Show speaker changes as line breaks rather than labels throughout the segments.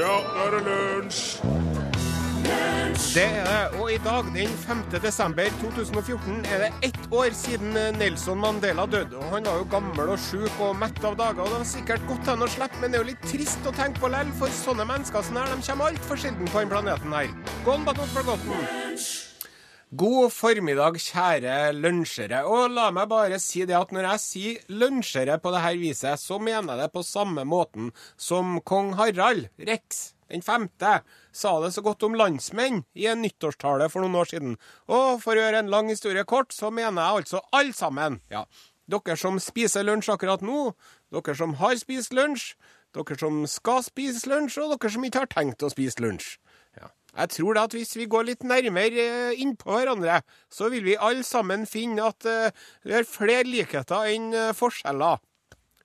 Ja, nå er det lunsj!
Det er det. Og i dag, den 5. desember 2014, er det ett år siden eh, Nelson Mandela døde. Og han var jo gammel og sjuk og mett av dager, og det var sikkert godt han å slippe, men det er jo litt trist å tenke på lell, for sånne mennesker som her, de kommer altfor sjelden på denne planeten her. Gone but not forgotten. God formiddag, kjære lunsjere. Og la meg bare si det at når jeg sier lunsjere på det her viset, så mener jeg det på samme måten som kong Harald, Rex den femte, sa det så godt om landsmenn i en nyttårstale for noen år siden. Og for å gjøre en lang historie kort, så mener jeg altså alle sammen. Ja, dere som spiser lunsj akkurat nå, dere som har spist lunsj, dere som skal spise lunsj, og dere som ikke har tenkt å spise lunsj. Ja. Jeg tror da at hvis vi går litt nærmere eh, innpå hverandre, så vil vi alle sammen finne at eh, det er flere likheter enn eh, forskjeller.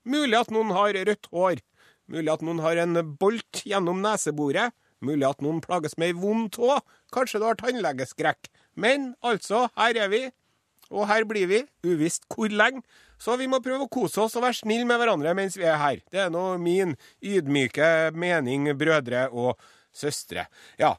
Mulig at noen har rødt hår. Mulig at noen har en bolt gjennom neseboret. Mulig at noen plages med ei vond tå. Kanskje du har tannlegeskrekk. Men altså, her er vi. Og her blir vi, uvisst hvor lenge. Så vi må prøve å kose oss og være snille med hverandre mens vi er her. Det er nå min ydmyke mening, brødre og søstre. Ja.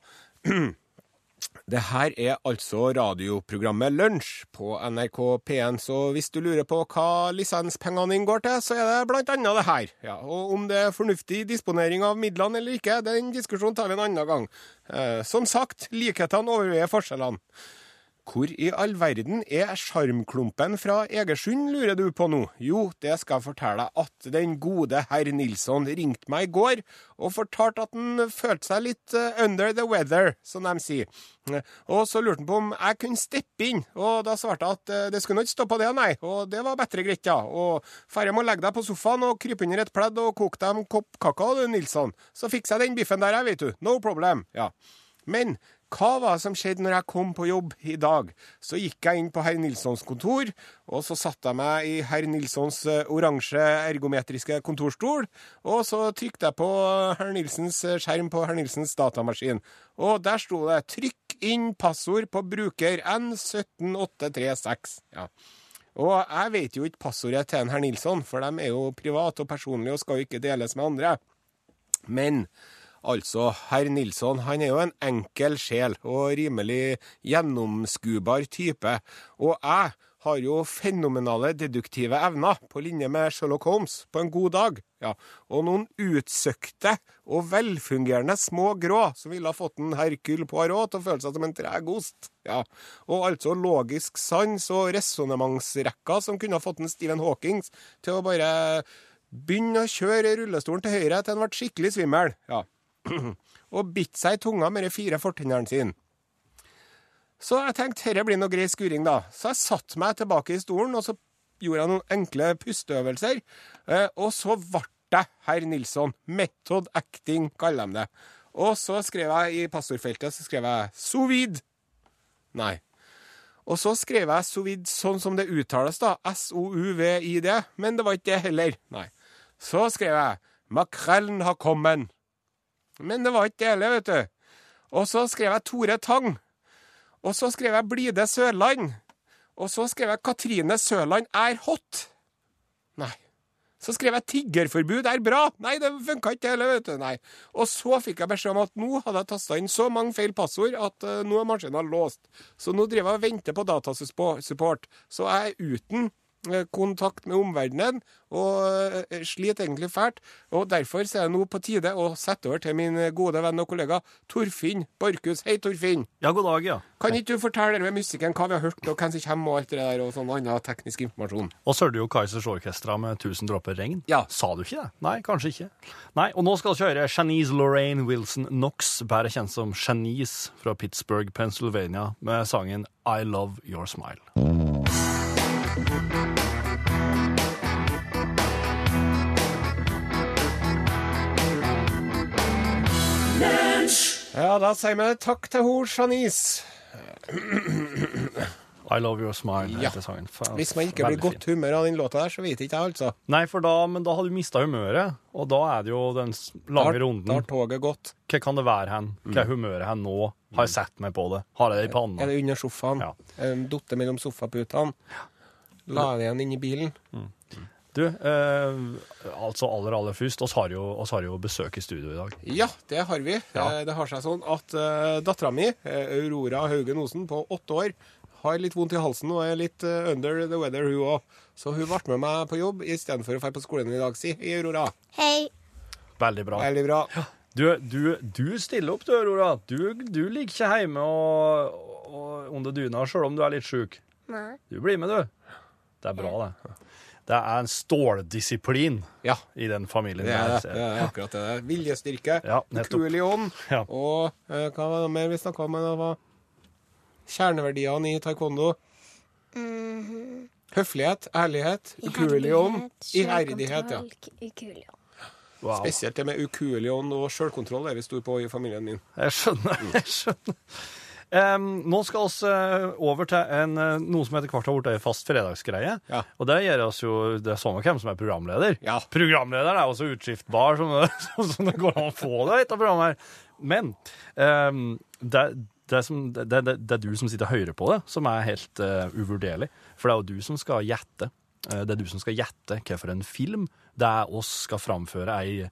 Det her er altså radioprogrammet Lunsj på NRK P1, så hvis du lurer på hva lisenspengene dine går til, så er det blant annet det her. Ja, og om det er fornuftig disponering av midlene eller ikke, den diskusjonen tar vi en annen gang. Eh, som sagt, likhetene overveier forskjellene. Hvor i all verden er sjarmklumpen fra Egersund, lurer du på nå? Jo, det skal jeg fortelle deg at den gode herr Nilsson ringte meg i går og fortalte at han følte seg litt eh, under the weather, som de sier. Eh, Og så lurte han på om jeg kunne steppe inn, og da svarte jeg at eh, det skulle nå ikke stå på det, nei, og det var bedre greit, ja. Og færre må legge deg på sofaen og krype under et pledd og koke deg en kopp kakao, du, Nilsson. Så fikser jeg den biffen der, jeg, vet du. No problem. Ja. Men hva var det som skjedde når jeg kom på jobb i dag? Så gikk jeg inn på herr Nilssons kontor, og så satte jeg meg i herr Nilssons eh, oransje ergometriske kontorstol, og så trykte jeg på herr Nilsens eh, skjerm på herr Nilsens datamaskin, og der sto det 'trykk inn passord på bruker N17836'. Ja. Og jeg vet jo ikke passordet til en herr Nilsson, for de er jo private og personlige og skal jo ikke deles med andre. Men altså, herr Nilsson han er jo en enkel sjel og rimelig gjennomskubar type. Og jeg har jo fenomenale deduktive evner, på linje med Sherlock Holmes, på en god dag. Ja, Og noen utsøkte og velfungerende små grå som ville ha fått en Hercule Poirot til å føle seg som en treg ost. Ja, Og altså logisk sans og resonnementsrekka som kunne ha fått en Stephen Hawkings til å bare Begynn å kjøre rullestolen til høyre til han ble skikkelig svimmel. Ja. og bitt seg i tunga med de fire fortennene sine. Så jeg tenkte herre blir noe grei skuring, da. Så jeg satte meg tilbake i stolen, og så gjorde jeg noen enkle pusteøvelser. Eh, og så ble det herr Nilsson. Method acting, kaller de det. Og så skrev jeg i passordfeltet så skrev jeg sous vide. Nei. Og så skrev jeg sovid sånn som det uttales, da. S-O-U-V-I-D. Men det var ikke det heller. Nei. Så skrev jeg 'Makrellen har kommet'. Men det var ikke det heller, vet du. Og så skrev jeg Tore Tang. Og så skrev jeg Blide Sørland. Og så skrev jeg Katrine Sørland er hot. Nei. Så skrev jeg 'Tiggerforbud er bra'. Nei, det funka ikke heller, vet du. Nei. Og så fikk jeg beskjed om at nå hadde jeg tasta inn så mange feil passord at eh, nå er maskinen låst. Så nå driver jeg og venter på datasupport. Så jeg er uten eh, kontakt med omverdenen og eh, sliter egentlig fælt. Og derfor så er det nå på tide å sette over til min gode venn og kollega Torfinn Borchhus. Hei, Torfinn.
Ja, god dag, ja.
Kan ikke du fortelle med musikken hva vi har hørt, og hvem som kommer, og alt det der, og sånn annen teknisk informasjon?
Og så hørte du jo Kaizers Orkestra med 1000 dråper regn.
Ja.
Sa du ikke det? Nei, kanskje ikke. Nei, Og nå skal vi høre Shanice Lorraine Wilson Knox, bedre kjent som Shanice fra Pittsburgh, Pennsylvania, med sangen I Love Your Smile.
Ja, da sier vi takk til hun, Janice.
I Love Your Smile
Ja.
heter sangen. Faen,
Hvis man ikke blir
veldig
i godt humør av den låta der, så vet ikke jeg, altså.
Nei, for da, men da har du mista humøret, og da er det jo den s-
Da
lange
har- Da har
runden.
toget gått.
Hva kan det være hen? Hva er humøret hen nå? Har jeg sett meg på det? Har jeg det i
Mm.
panna?
Er det under sofaen?
Ja.
Ja. Dotte mellom sofaputene? La det igjen inn i bilen?
Du, eh, altså aller, aller først, oss har, jo, oss har jo besøk i studio i dag.
Ja, det har vi. Eh, Det har seg sånn at uh, dattera mi, eh, Aurora Haugen Osen, på åtte år, har litt vondt i halsen og er litt eh, under the weather, hun òg. Så hun ble med meg på jobb istedenfor å dra på skolen i dag, si. Hei, Aurora.
Hei.
Veldig bra.
Veldig bra.
Du, du, du stiller opp, du, Aurora. Du, du ligger ikke hjemme og, og under dyna sjøl om du er litt sjuk.
Nei.
Du blir med, du. Det er bra, det. Det er en ståldisiplin
Ja.
i den familien.
Det er,
der,
det.
ser jeg.
det er akkurat det. der. Viljestyrke,
Ja, nettopp.
ukuelig ånd
Ja.
og eh, hva var det mer vi snakka om? Det var kjerneverdiene i taekwondo. Høflighet, ærlighet, ukuelig ånd, iherdighet. ja.
Ukuelig ånd.
Wow.
Spesielt det med ukuelig ånd og sjølkontroll er vi stor på i familien min.
Jeg skjønner. jeg skjønner. Em, nå skal vi eh, over til en, eh, noe som etter hvert har blitt ei fast fredagsgreie.
Ja.
Og det gjør oss jo Det er samme hvem som er programleder.
Ja.
Programlederen er også utskiftbar, som, sånn som det går an å få det etter programmet her. Men em, det, det, som, det, det, det er du som sitter og hører på det, som er helt eh, uvurderlig. For det er jo du som skal gjette. Eh, Det er du som skal gjette hva for en film det er oss skal framføre ei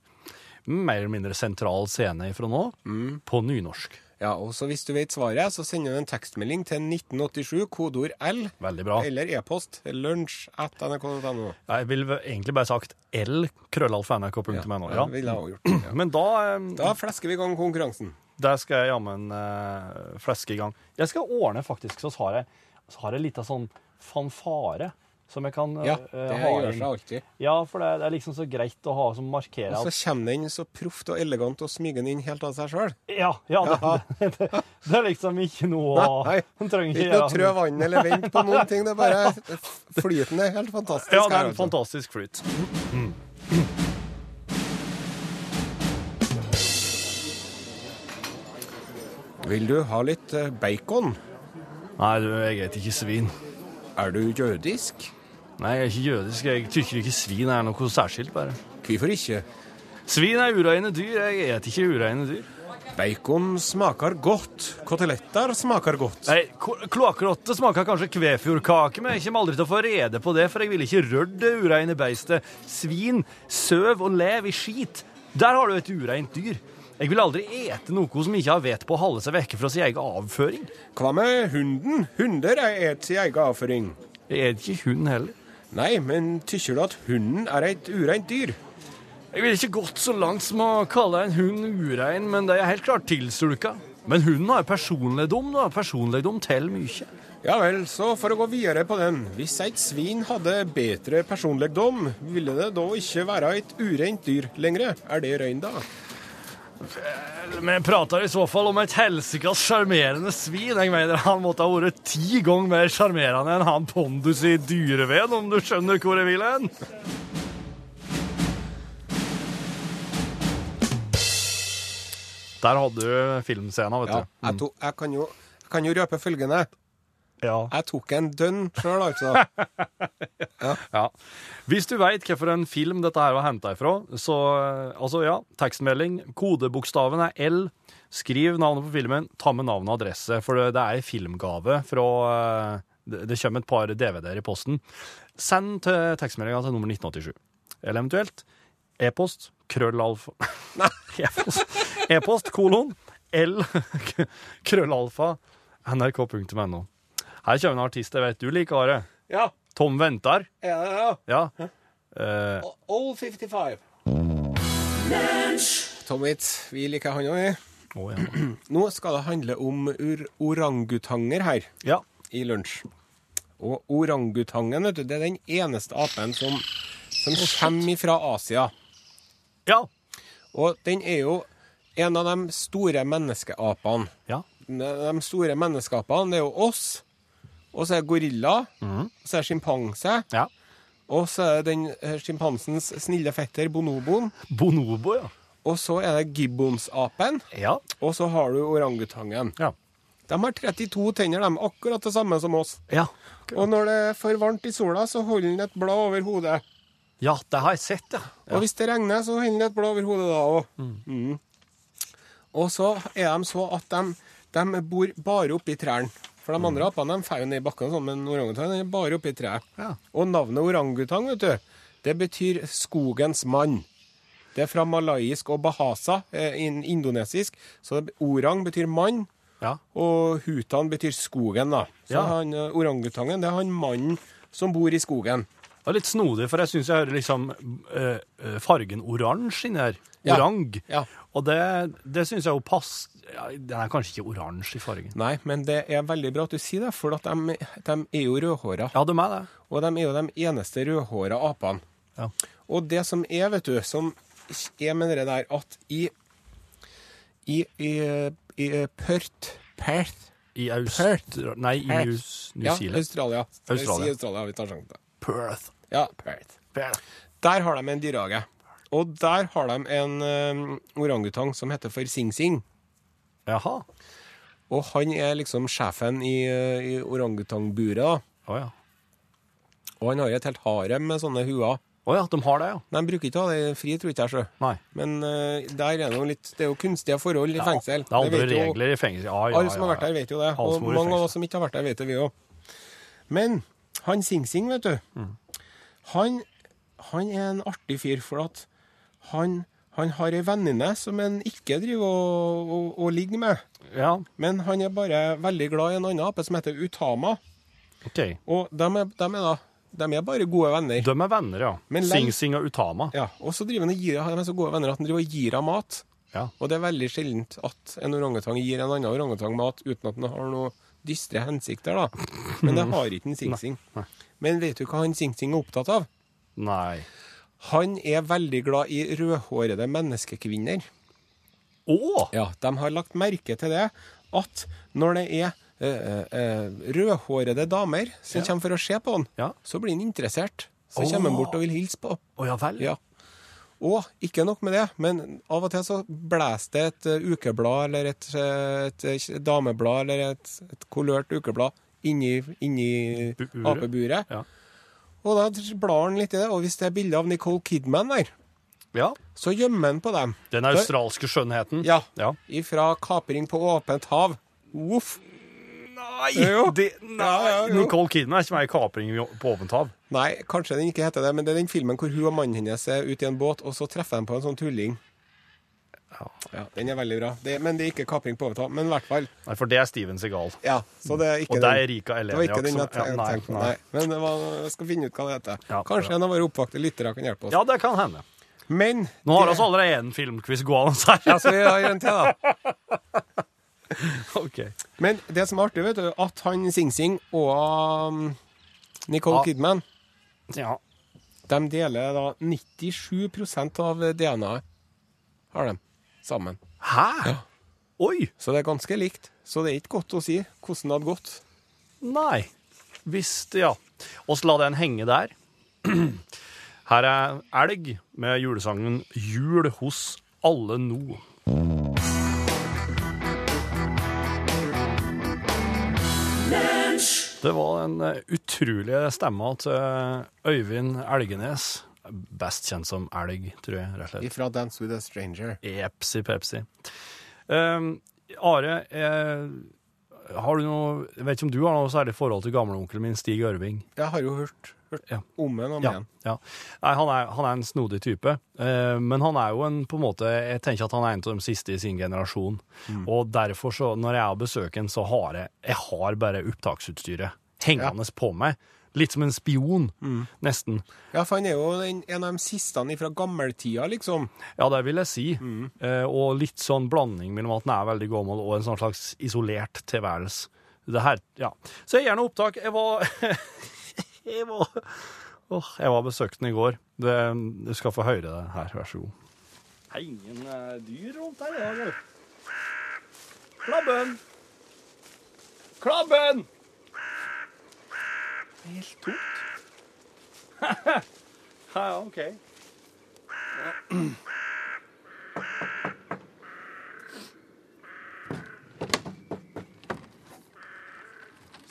mer eller mindre sentral scene ifra nå, på nynorsk.
Ja, og så Hvis du vet svaret, så sender du en tekstmelding til 1987, kodeord L,
Veldig bra.
eller e-post lunsj at nrk.no.
Jeg ville vel egentlig bare sagt l krøllalfa.nrk.no. Ja.
Det ville jeg også gjort. Ja.
Men da, eh,
Da flesker vi i gang konkurransen.
der skal jeg jammen eh, fleske i gang. Jeg skal ordne faktisk, så har jeg, så har jeg litt av sånn fanfare som jeg kan eh,
Ja,
eh,
Det
ha
gjør
inn.
seg alltid.
Ja, for det, det er liksom så greit å ha som markerer
Og
at
så kommer den så proft og elegant og smyger den inn helt av seg sjøl.
Ja, ja det, det, det, er liksom ikke noe å
Nei,
Man trenger
Ikke noe
ikke gjøre- sånn.
trø vann eller vent på noen ting. Det er bare flytende. Helt fantastisk.
Ja, det
her,
er en
altså.
fantastisk flyt.
Vil du ha litt eh, bacon?
Nei, du, jeg spiser ikke svin.
Er du jødisk?
Nei, jeg er ikke jødisk. Jeg tykker ikke svin er noe særskilt, bare.
Hvorfor ikke?
Svin er ureine dyr. Jeg et ikke ureine dyr.
Bacon smaker godt. Koteletter smaker godt.
Nei, ko- kloakkrotte smaker kanskje kvefjordkake, men jeg kommer aldri til å få rede på det, for jeg ville ikke rørt det ureine beistet. Svin, søv og lev i skit. Der har du et ureint dyr. Jeg vil aldri ete noe som ikke har vett på å holde seg vekke fra sin egen avføring.
Hva med hunden? Hunder er et sin egen avføring.
Jeg er ikke hund heller.
Nei, men tykker du at hunden er et ureint dyr?
Jeg ville ikke gått så langt som å kalle en hund urein, men det er helt klart tilsulka. Men hunden har personligdom, da. Personligdom teller mye.
Ja vel, så for å gå videre på den. Hvis et svin hadde bedre personligdom, ville det da ikke være et ureint dyr lenger? Er det rein, da?
Vi prater i så fall om et helsikas sjarmerende svin. Jeg mener Han måtte ha vært ti ganger mer sjarmerende enn han Pondus i Dyreveden, om du skjønner hvor jeg vil hen. Der hadde du filmscena, vet
Ja, mm.
du.
jeg, to, jeg, kan jo, jeg kan jo røpe følgende.
Ja.
Jeg tok en dønn sjøl, altså.
ja. Hvis du veit hvilken film dette her var henta ifra, så eh, altså, ja, tekstmelding. Kodebokstaven er L. Skriv navnet på filmen, ta med navn og adresse, for det, det er ei filmgave fra eh, Det, det kommer et par DVD-er i posten. Send til tekstmeldinga til nummer 1987. Eller eventuelt e-post krøllalfa Nei, e-post. E-post kolon L krøllalfa nrk.no. Her kommer en artist jeg vet du liker, Are.
Ja,
Tom Ventar.
ja, ja.
Ja. Eh,
All 55. Tommit, vi liker han òg, vi.
å, ja.
Nå skal det handle om ur orangutanger her
ja.
i lunsj. Og orangutangen, vet du, det er den eneste apen som, som kommer ifra Asia.
Ja.
Og den er jo en av de store menneskeapene.
Ja.
De de store menneskeapene, det er jo oss. Og så er det gorilla. Og så er det sjimpanse.
ja.
Og så er det den eh, sjimpansens snille fetter bonoboen.
Bonobo, ja.
Og så er det gibbonsapen.
Ja.
Og så har du orangutangen.
Ja.
De har 32 tenner, de. Akkurat det samme som oss.
Ja,
Og når det er for varmt i sola, så holder den et blad over hodet.
ja det har jeg sett, ja.
Og hvis det regner, så holder den et blad over hodet da òg.
Mm.
Og så er de så at de, de bor bare oppi trærne. For
Mm.
de andre apene de faller ned i bakken, sånn, men orangutang er bare oppi trær.
Ja.
Og navnet orangutang, vet du, Det betyr skogens mann. Det er fra malaysk og bahasa, eh, in indonesisk. Så det, orang betyr mann,
Ja.
og hutan betyr skogen, da. Så
Ja.
han, eh, orangutangen, det er han mannen som bor i skogen.
Det er litt snodig, for jeg syns jeg hører liksom eh, eh, fargen oransje inni her.
Ja.
Orang.
Ja.
Og det, det syns jeg jo pass... Ja, den er kanskje ikke oransje i fargen.
Nei, men det er veldig bra at du sier det, for at de, de er jo rødhåra.
Ja, de er det.
Og de er jo de eneste rødhåra apene.
Ja.
Og det som er, vet du, som er med det der at i i, i, i Perth Perth
I Aust...
Perth.
Nei, i
Perth.
New, New
Ja,
Zealand.
Australia. Jeg
Australia.
sier Australia, vi tar sjansen.
Perth.
Ja, Perth.
Perth.
Der har de en dyrehage. Og der har de en eh, orangutang som heter for Sing Sing.
Jaha. Å
Og han er liksom sjefen i, eh, i orangutangburet, da.
ja.
Og han har jo et helt harem med sånne huer.
Å ja, de har det, ja.
Nei, De bruker ikke å ha det fri, tror ikke jeg, sjø.
Nei.
Men eh, der er det, jo litt, det er jo kunstige forhold i fengsel.
Det er andre
vet jo-
regler i fengsel. Ja, ja,
Alle som har vært
ja,
der, vet jo det. Og
Halsmor i
mange av
fengsel.
oss som ikke har vært der, vet det, vi òg. Men han Sing Sing, vet du
Mm.
han, han er en artig fyr, for at han, han har ei venninne som han ikke driver og, og, og ligger med.
ja. ja.
Men han er bare veldig glad i en annen ape som heter Utama.
OK.
Og dem er, dem er da dem er bare gode venner.
De er venner, ja.
Men lenge-
Sing Sing og Utama.
Ja, og så driver han og gir De er så gode venner at han driver og gir henne mat.
Ja.
Og det er veldig sjeldent at en orangutang gir en annen orangutang mat uten at den har noe dystre hensikter, da. Men det har ikke en Sing Sing. Men vet du hva han Sing Sing er opptatt av?
Nei.
Han er veldig glad i rødhårede menneskekvinner.
Å!
Ja, de har lagt merke til det at når det er eh, eh, rødhårede damer som kommer for å se på han,
Ja.
så blir han interessert. Så
Åh.
kommer han bort og vil hilse på.
Å ja vel.
Ja. Og ikke nok med det, men av og til så blæser det et eh, ukeblad eller et, eh, et, eh, dameblad eller et, et kolørt ukeblad inni, inni
Bu- buret.
apeburet.
Ja.
Og da blar han litt i det, og hvis det er bilde av Nicole Kidman der,
ja.
så gjemmer han på dem.
Den australske skjønnheten.
Ja.
Ja.
Ifra 'Kapring på åpent hav'. Voff.
Nei!
Jo.
Det, nei.
Ja, ja, jo.
Nicole Kidman er ikke med i kapring på åpent hav.
Nei, kanskje den ikke heter det, men det er den filmen hvor hun og mannen hennes er ute i en båt, og så treffer de på en sånn tulling. Ja, Den er veldig bra. Det, men det er ikke 'Kapring på åpent hav'. Men i hvert fall.
Nei, for det er Steven Segal.
Ja, så det er ikke
Og det er
den.
Rika
Det var ikke
Eleniak
den
som
jeg tenkte
ja, nei,
på,
nei.
nei. Men det var, jeg skal finne ut hva det heter.
Ja,
Kanskje
bra.
en av våre oppvakte lyttere kan hjelpe oss.
Ja, det kan hende.
Men
Nå har vi
det-
altså allerede en filmquiz gående her.
Ja, så vi har en til, da.
Ok.
Men det som er artig, vet du, at han Sing Sing og um, Nicole
Ja.
Kidman
Ja.
de deler da 97 av DNA-et. Har de. Sammen.
Hæ? Oi!
Så det er ganske likt. Så det er ikke godt å si hvordan det hadde gått.
Nei. Visst, ja. Og så la den henge der. Her er Elg med julesangen Jul hos alle nå. Det var den eh, utrolige stemma til eh, Øyvind Elgenes. Best kjent som Elg, tror jeg, rett og slett.
Ifra Dance with a Stranger.
Epsi Pepsi. Ehm, Are, eh, har du noe, jeg vet ikke om du har noe særlig forhold til gamleonkelen min, Stig Ørving?
Jeg har jo hørt, hørt
Ja.
om en og om
Ja,
igjen.
ja. Nei, han, er, han er en snodig type, eh, men han er jo en, på en måte, jeg tenker at han er en av de siste i sin generasjon. Og derfor, så, når jeg har besøk en, så har jeg, jeg har bare opptaksutstyret hengende på meg. Litt som en spion, nesten.
Ja, for han er jo en, en av de siste fra gammeltida, liksom.
Ja, det vil jeg si. Eh, og litt sånn blanding mellom at den er veldig gammel og en sånn slags isolert tilværelse. Det her, ja. Så jeg gjør noe opptak. Jeg var Jeg var Åh, jeg var besøkt den i går. Det, du skal få høre det her, vær så god. Det er ingen eh, dyr rundt her i dag, Klabben! Klabben! Det er helt tomt. ja, ja, OK.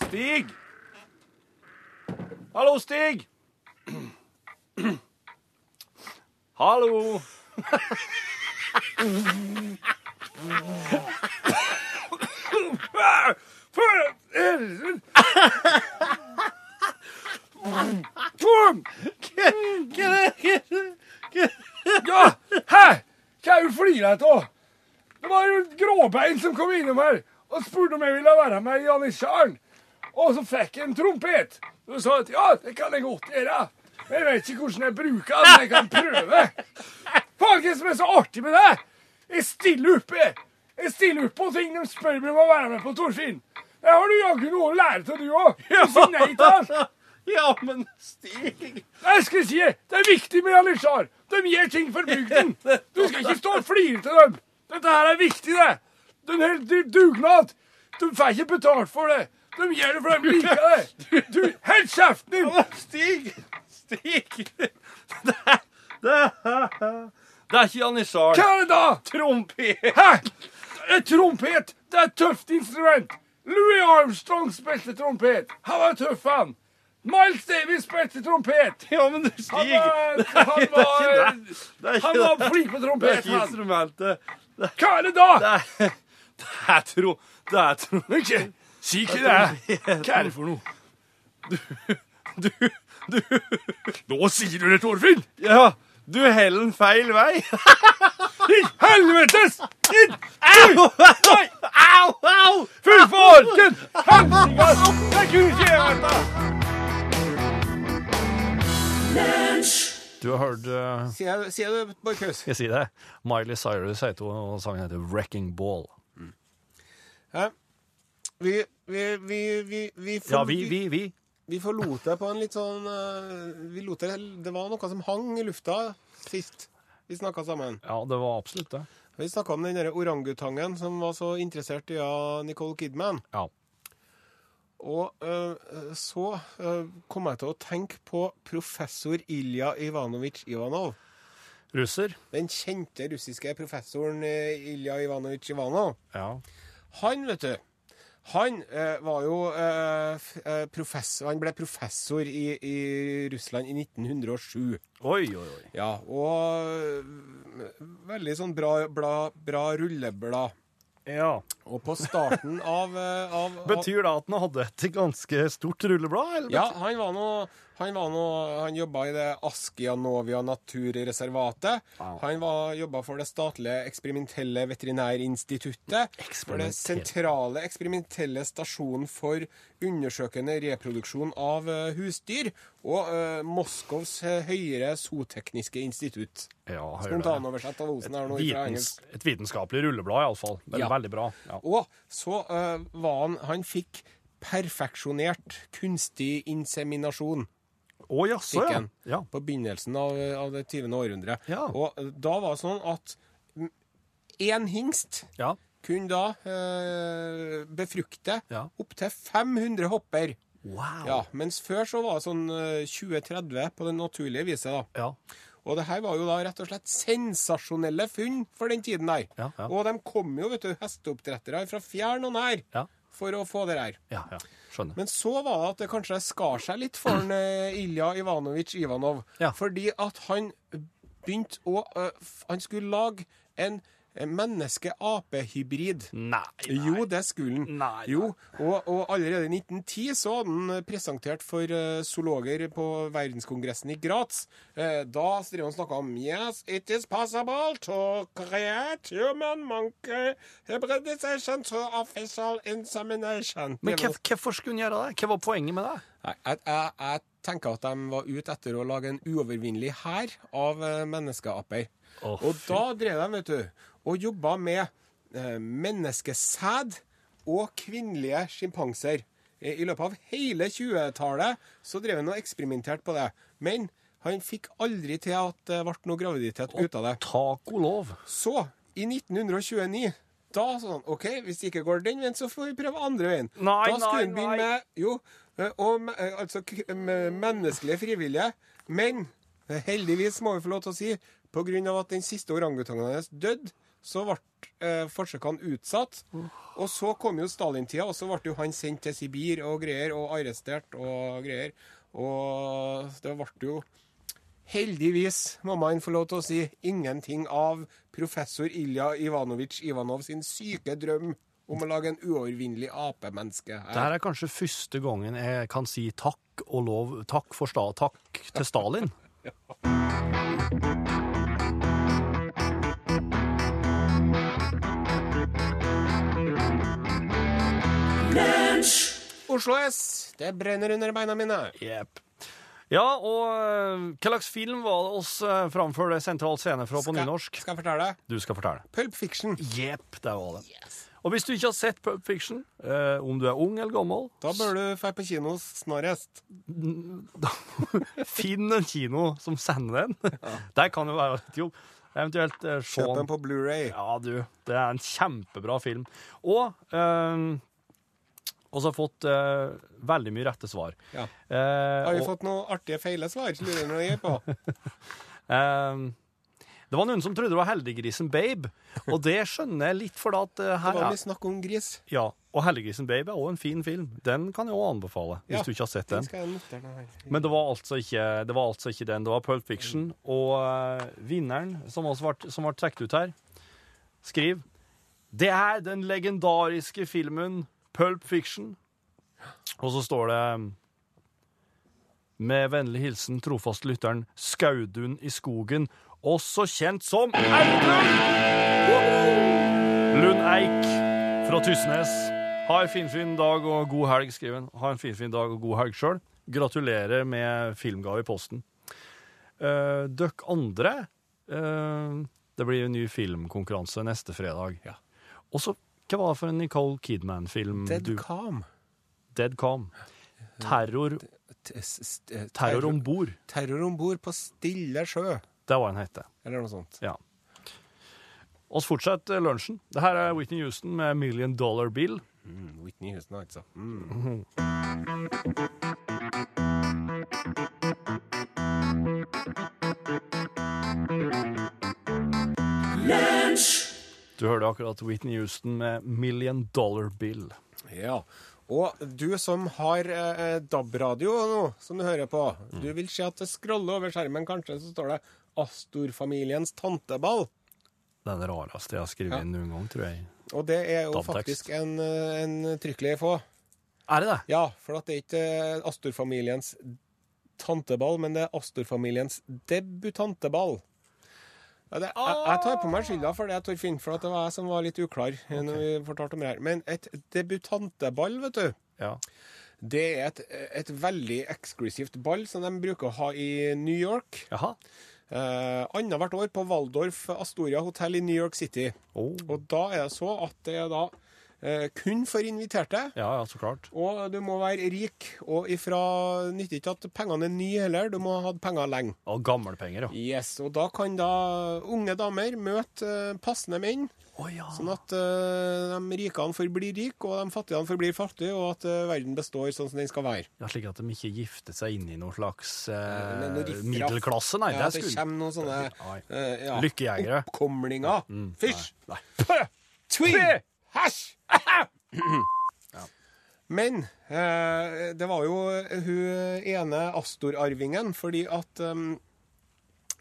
Stig! Hallo, Stig! Hallo!
Ja, hæ? Hva er du flirer av? Det var jo et gråbein som kom innom her og spurte om jeg ville være med i Janitsjaren. Og så fikk jeg en trompet. Så sa jeg at ja, det kan jeg godt gjøre. Men jeg vet ikke hvordan jeg bruker den, men jeg kan prøve. Faen, hva er det som er så artig med det? Jeg stiller opp, jeg. Jeg stiller opp på ting de spør meg om å være med på, Torfinn. Det har du jaggu noe å lære av, du òg. Du sier nei til alt.
Ja, men Stig
Jeg skal si, Det er viktig med Alishar. De gjør ting for bygden. Du skal ikke stå og flire til dem. Dette her er viktig, det. Den her du- dugnad. De får ikke betalt for det. De gjør det for de liker det. Du, Hold kjeften din!
Stig! Stig! Det er, det er, det er ikke Janitsjar.
Hva er det da?
Trompet!
Hæ? En trompet! Det er et tøft instrument. Louis Armstrong spilte trompet. Han var tøff, han. Miles Davis spilte trompet.
Ja, men du,
Han
Stig
var, han
det er ikke
var,
det. Det er ikke
han var flink på
det er
trompet.
ikke
Han.
instrumentet. Det er,
Hva er det da?
det er, det er tro... Det er tro...
Men ikke, si ikke det. Hva er det for noe?
Du, du,
Nå sier du det, Torfinn!
ja, du heller den feil vei.
I helvetes! I
Au! Au! Au!
fy folken! Helsikas! Det er gud kjevete!
Du har hørt eh,
Sier, sier du, Borchhus?
Skal jeg si det? Miley Cyrus heter hun, og sangen heter 'Wrecking Ball'.
Hæ? Vi, vi, vi, vi, vi,
Ja, vi, vi, vi.
vi forlot det på en litt sånn eh, Vi lot det Det var noe som hang i lufta sist vi snakka sammen.
Ja, det var absolutt det.
Vi snakka om den derre orangutangen som var så interessert i ja, Nicole Kidman.
Ja.
Og eh, så eh, kom jeg til å tenke på professor Ilja Ivanovic Ivanov.
Russer.
Den kjente russiske professoren eh, Ilja Ivanovic Ivanov.
Ja.
Han, vet du han eh, var jo eh, f- eh, professor Han ble professor i, i Russland i 1907.
Oi, oi, oi.
Ja, og eh, veldig sånn bra, bra, bra rulleblad.
Ja.
Og på starten av, eh, av, av
Betyr det at han hadde et ganske stort rulleblad? Eller?
Ja, han var nå Han, var nå- han jobba i det Askianovia naturreservatet.
Wow.
Han var- jobba for det statlige eksperimentelle veterinærinstituttet. For det sentrale eksperimentelle stasjonen for undersøkende reproduksjon av eh, husdyr. Og eh, Moskvs eh, høyere zootekniske institutt.
Ja, hører det.
Spontanoversatt av Osen her nå fra
Vitens,
engelsk.
et vitenskapelig rulleblad, iallfall. Ja.
Ja.
Veldig bra. Ja.
Og så eh, var han Han fikk perfeksjonert kunstig inseminasjon.
Å jaså, ja.
Fikken.
Sånn, ja.
på begynnelsen av, av det 20. århundret.
Ja.
Og da var det sånn at én hingst
Ja.
kunne da eh, befrukte
Ja.
opptil 500 hopper.
Wow.
Ja, mens før så var det sånn eh, 20-30 på det naturlige viset. da.
Ja.
Og det her var jo da rett og slett sensasjonelle funn for den tiden her.
Ja, ja.
Og de kom jo, vet du, hesteoppdrettere fra fjern og nær
Ja.
for å få det her.
ja, ja. Skjønner.
Men så var det at det kanskje skar seg litt for han, eh, Ilja Ivanovic Ivanov.
Ja.
Fordi at han begynte å eh, f- Han skulle lage en eh, menneske-ape-hybrid.
Nei, nei.
Jo, det skulle han.
Nei, nei.
Jo, og, og allerede i 1910 så hadde han eh, presentert for eh, zoologer på verdenskongressen i Graz. Eh, da drev han og snakka om Yes, it is possible to create human monkey hybridization to official insemination.
Men
Det var
hva- hvorfor skulle hun gjøre det? Hva var poenget med det?
Nei, jeg, jeg, jeg tenker at de var ute etter å lage en uovervinnelig hær av eh, menneskeaper.
Å,
og da drev de, vet du, og jobba med eh, menneskesæd og kvinnelige sjimpanser. I, I løpet av hele 20-tallet så drev han og eksperimenterte på det. Men han fikk aldri til at det ble noe graviditet ut av det.
Taco lov.
Så, i 1929 da sånn, OK, hvis det ikke går den veien, så får vi prøve andre veien.
Nei,
da skulle
nei,
hun begynne
nei.
med jo, eh, og, me- eh, altså k- med menneskelige frivillige. Men eh, heldigvis, må vi få lov til å si, pga. at den siste orangutangen hennes døde, så ble eh, forsøkene utsatt. Og så kom jo Stalin-tida, og så ble jo han sendt til Sibir og greier, og arrestert og greier. Og det ble jo Heldigvis, må man få lov til å si, ingenting av professor Ilja Ivanovic Ivanov sin syke drøm om å lage en uovervinnelig apemenneske.
Det
her.
her er kanskje første gangen jeg kan si takk og lov Takk, for sta, takk til Stalin.
Oslo S, det brenner under beina mine.
Jepp. Ja, og eh, hva slags film var det oss eh, framfor det sentral scene fra på nynorsk?
Skal jeg fortelle deg?
Du skal fortelle.
Pulp Fiction.
Jepp, det var det. Og hvis du ikke har sett Pulp Fiction, eh, om du er ung eller gammel,
Da bør du dra på kino snarest.
finn en kino som sender den. Det kan jo være litt jobb. Eventuelt eh, se
Kjøp
den
den på Blu-ray.
Ja, du. Det er en kjempebra film. Og eh, og så har jeg fått eh, veldig mye rette svar.
Ja.
Eh,
Har vi
og-
fått noen artige feile svar? Lurer jeg noe jeg på.
Ehm, det var noen som trodde det var Heldiggrisen Babe, og det skjønner jeg litt, for at eh,
Det
her
var
er
mye snakk om gris.
ja, Og Heldiggrisen Babe er òg en fin film. Den kan jeg òg anbefale,
Ja,
hvis du ikke har sett
Den
den.
skal jeg notere ned her.
Men det var altså ikke, det var altså ikke den. Det var Pulp Fiction. Og eh, vinneren, som også ble, som ble trukket ut her, skriv Det er den legendariske filmen Pulp Fiction. Og så står det Med vennlig hilsen trofaste lytteren Skaudun i skogen, også kjent som Audun! Lund Eik fra Tysnes. Ha en finfin dag og god helg, skriver han. Ha en finfin dag og god helg sjøl. Gratulerer med filmgave i posten. Uh, Døkk andre eh, Det blir jo ny filmkonkurranse neste fredag. Og så Hva var det for en Nicole Kidman-film?
Dead
du-
Calm.
Dead Calm. Terror,
T- s- s- eh,
terror om bord.
Terror om bord på stille sjø,
Det var en hette.
eller noe sånt.
Ja. Oss fortsetter lunsjen. Det her er Whitney Houston med Million Dollar Bill.
Whitney Houston, altså.
Du hørte akkurat Whitney Houston med Million Dollar Bill.
Ja. Og du som har eh, DAB-radio nå, som du hører på, du vil se at det scroller over skjermen, kanskje, så står det Astor-familiens tanteball.
Den rareste jeg har skrevet
Ja.
inn noen gang, tror jeg.
Og det er jo
DAB-tekst.
faktisk en, eh, en trykklig få.
Er det det?
Ja, for at det er ikke eh, Astor-familiens tanteball, men det er Astor-familiens debutanteball. Ja, det, jeg, jeg tar på meg skylda for det, Torfinn, for at det var jeg som var litt uklar. eh, Når vi fortalte om det her. Men et debutanteball, vet du,
Ja.
det er et, et veldig eksklusivt ball som de bruker å ha i New York.
Jaha.
Eh, Annethvert år på Waldorf Astoria hotell i New York City.
Oh.
Og da er det så at det er da eh, kun for inviterte.
Ja, ja, så klart.
Og du må være rik, og ifra nytter ikke at pengene er nye heller, du må ha hatt penger lenge.
Og gammelpenger, ja.
Yes, Og da kan da unge damer møte eh, passende menn,
Å ja.
sånn at eh, de rikene forblir rike, og de fattigene forblir fattige, og at eh, verden består sånn som den skal være.
ja. Slik at de ikke giftet seg inn i noen slags eh,
Men noe riffraff.
middelklasse, nei.
ja,
det
det
skulle
kommer noen sånne
Nei.
eh, ja,
Lykkejegere.
oppkomlinger. Fysj!
Nei.
Pø! Tvi!
Pø!
Hæsj! Men eh, det var jo hun ene Astor-arvingen, fordi at um,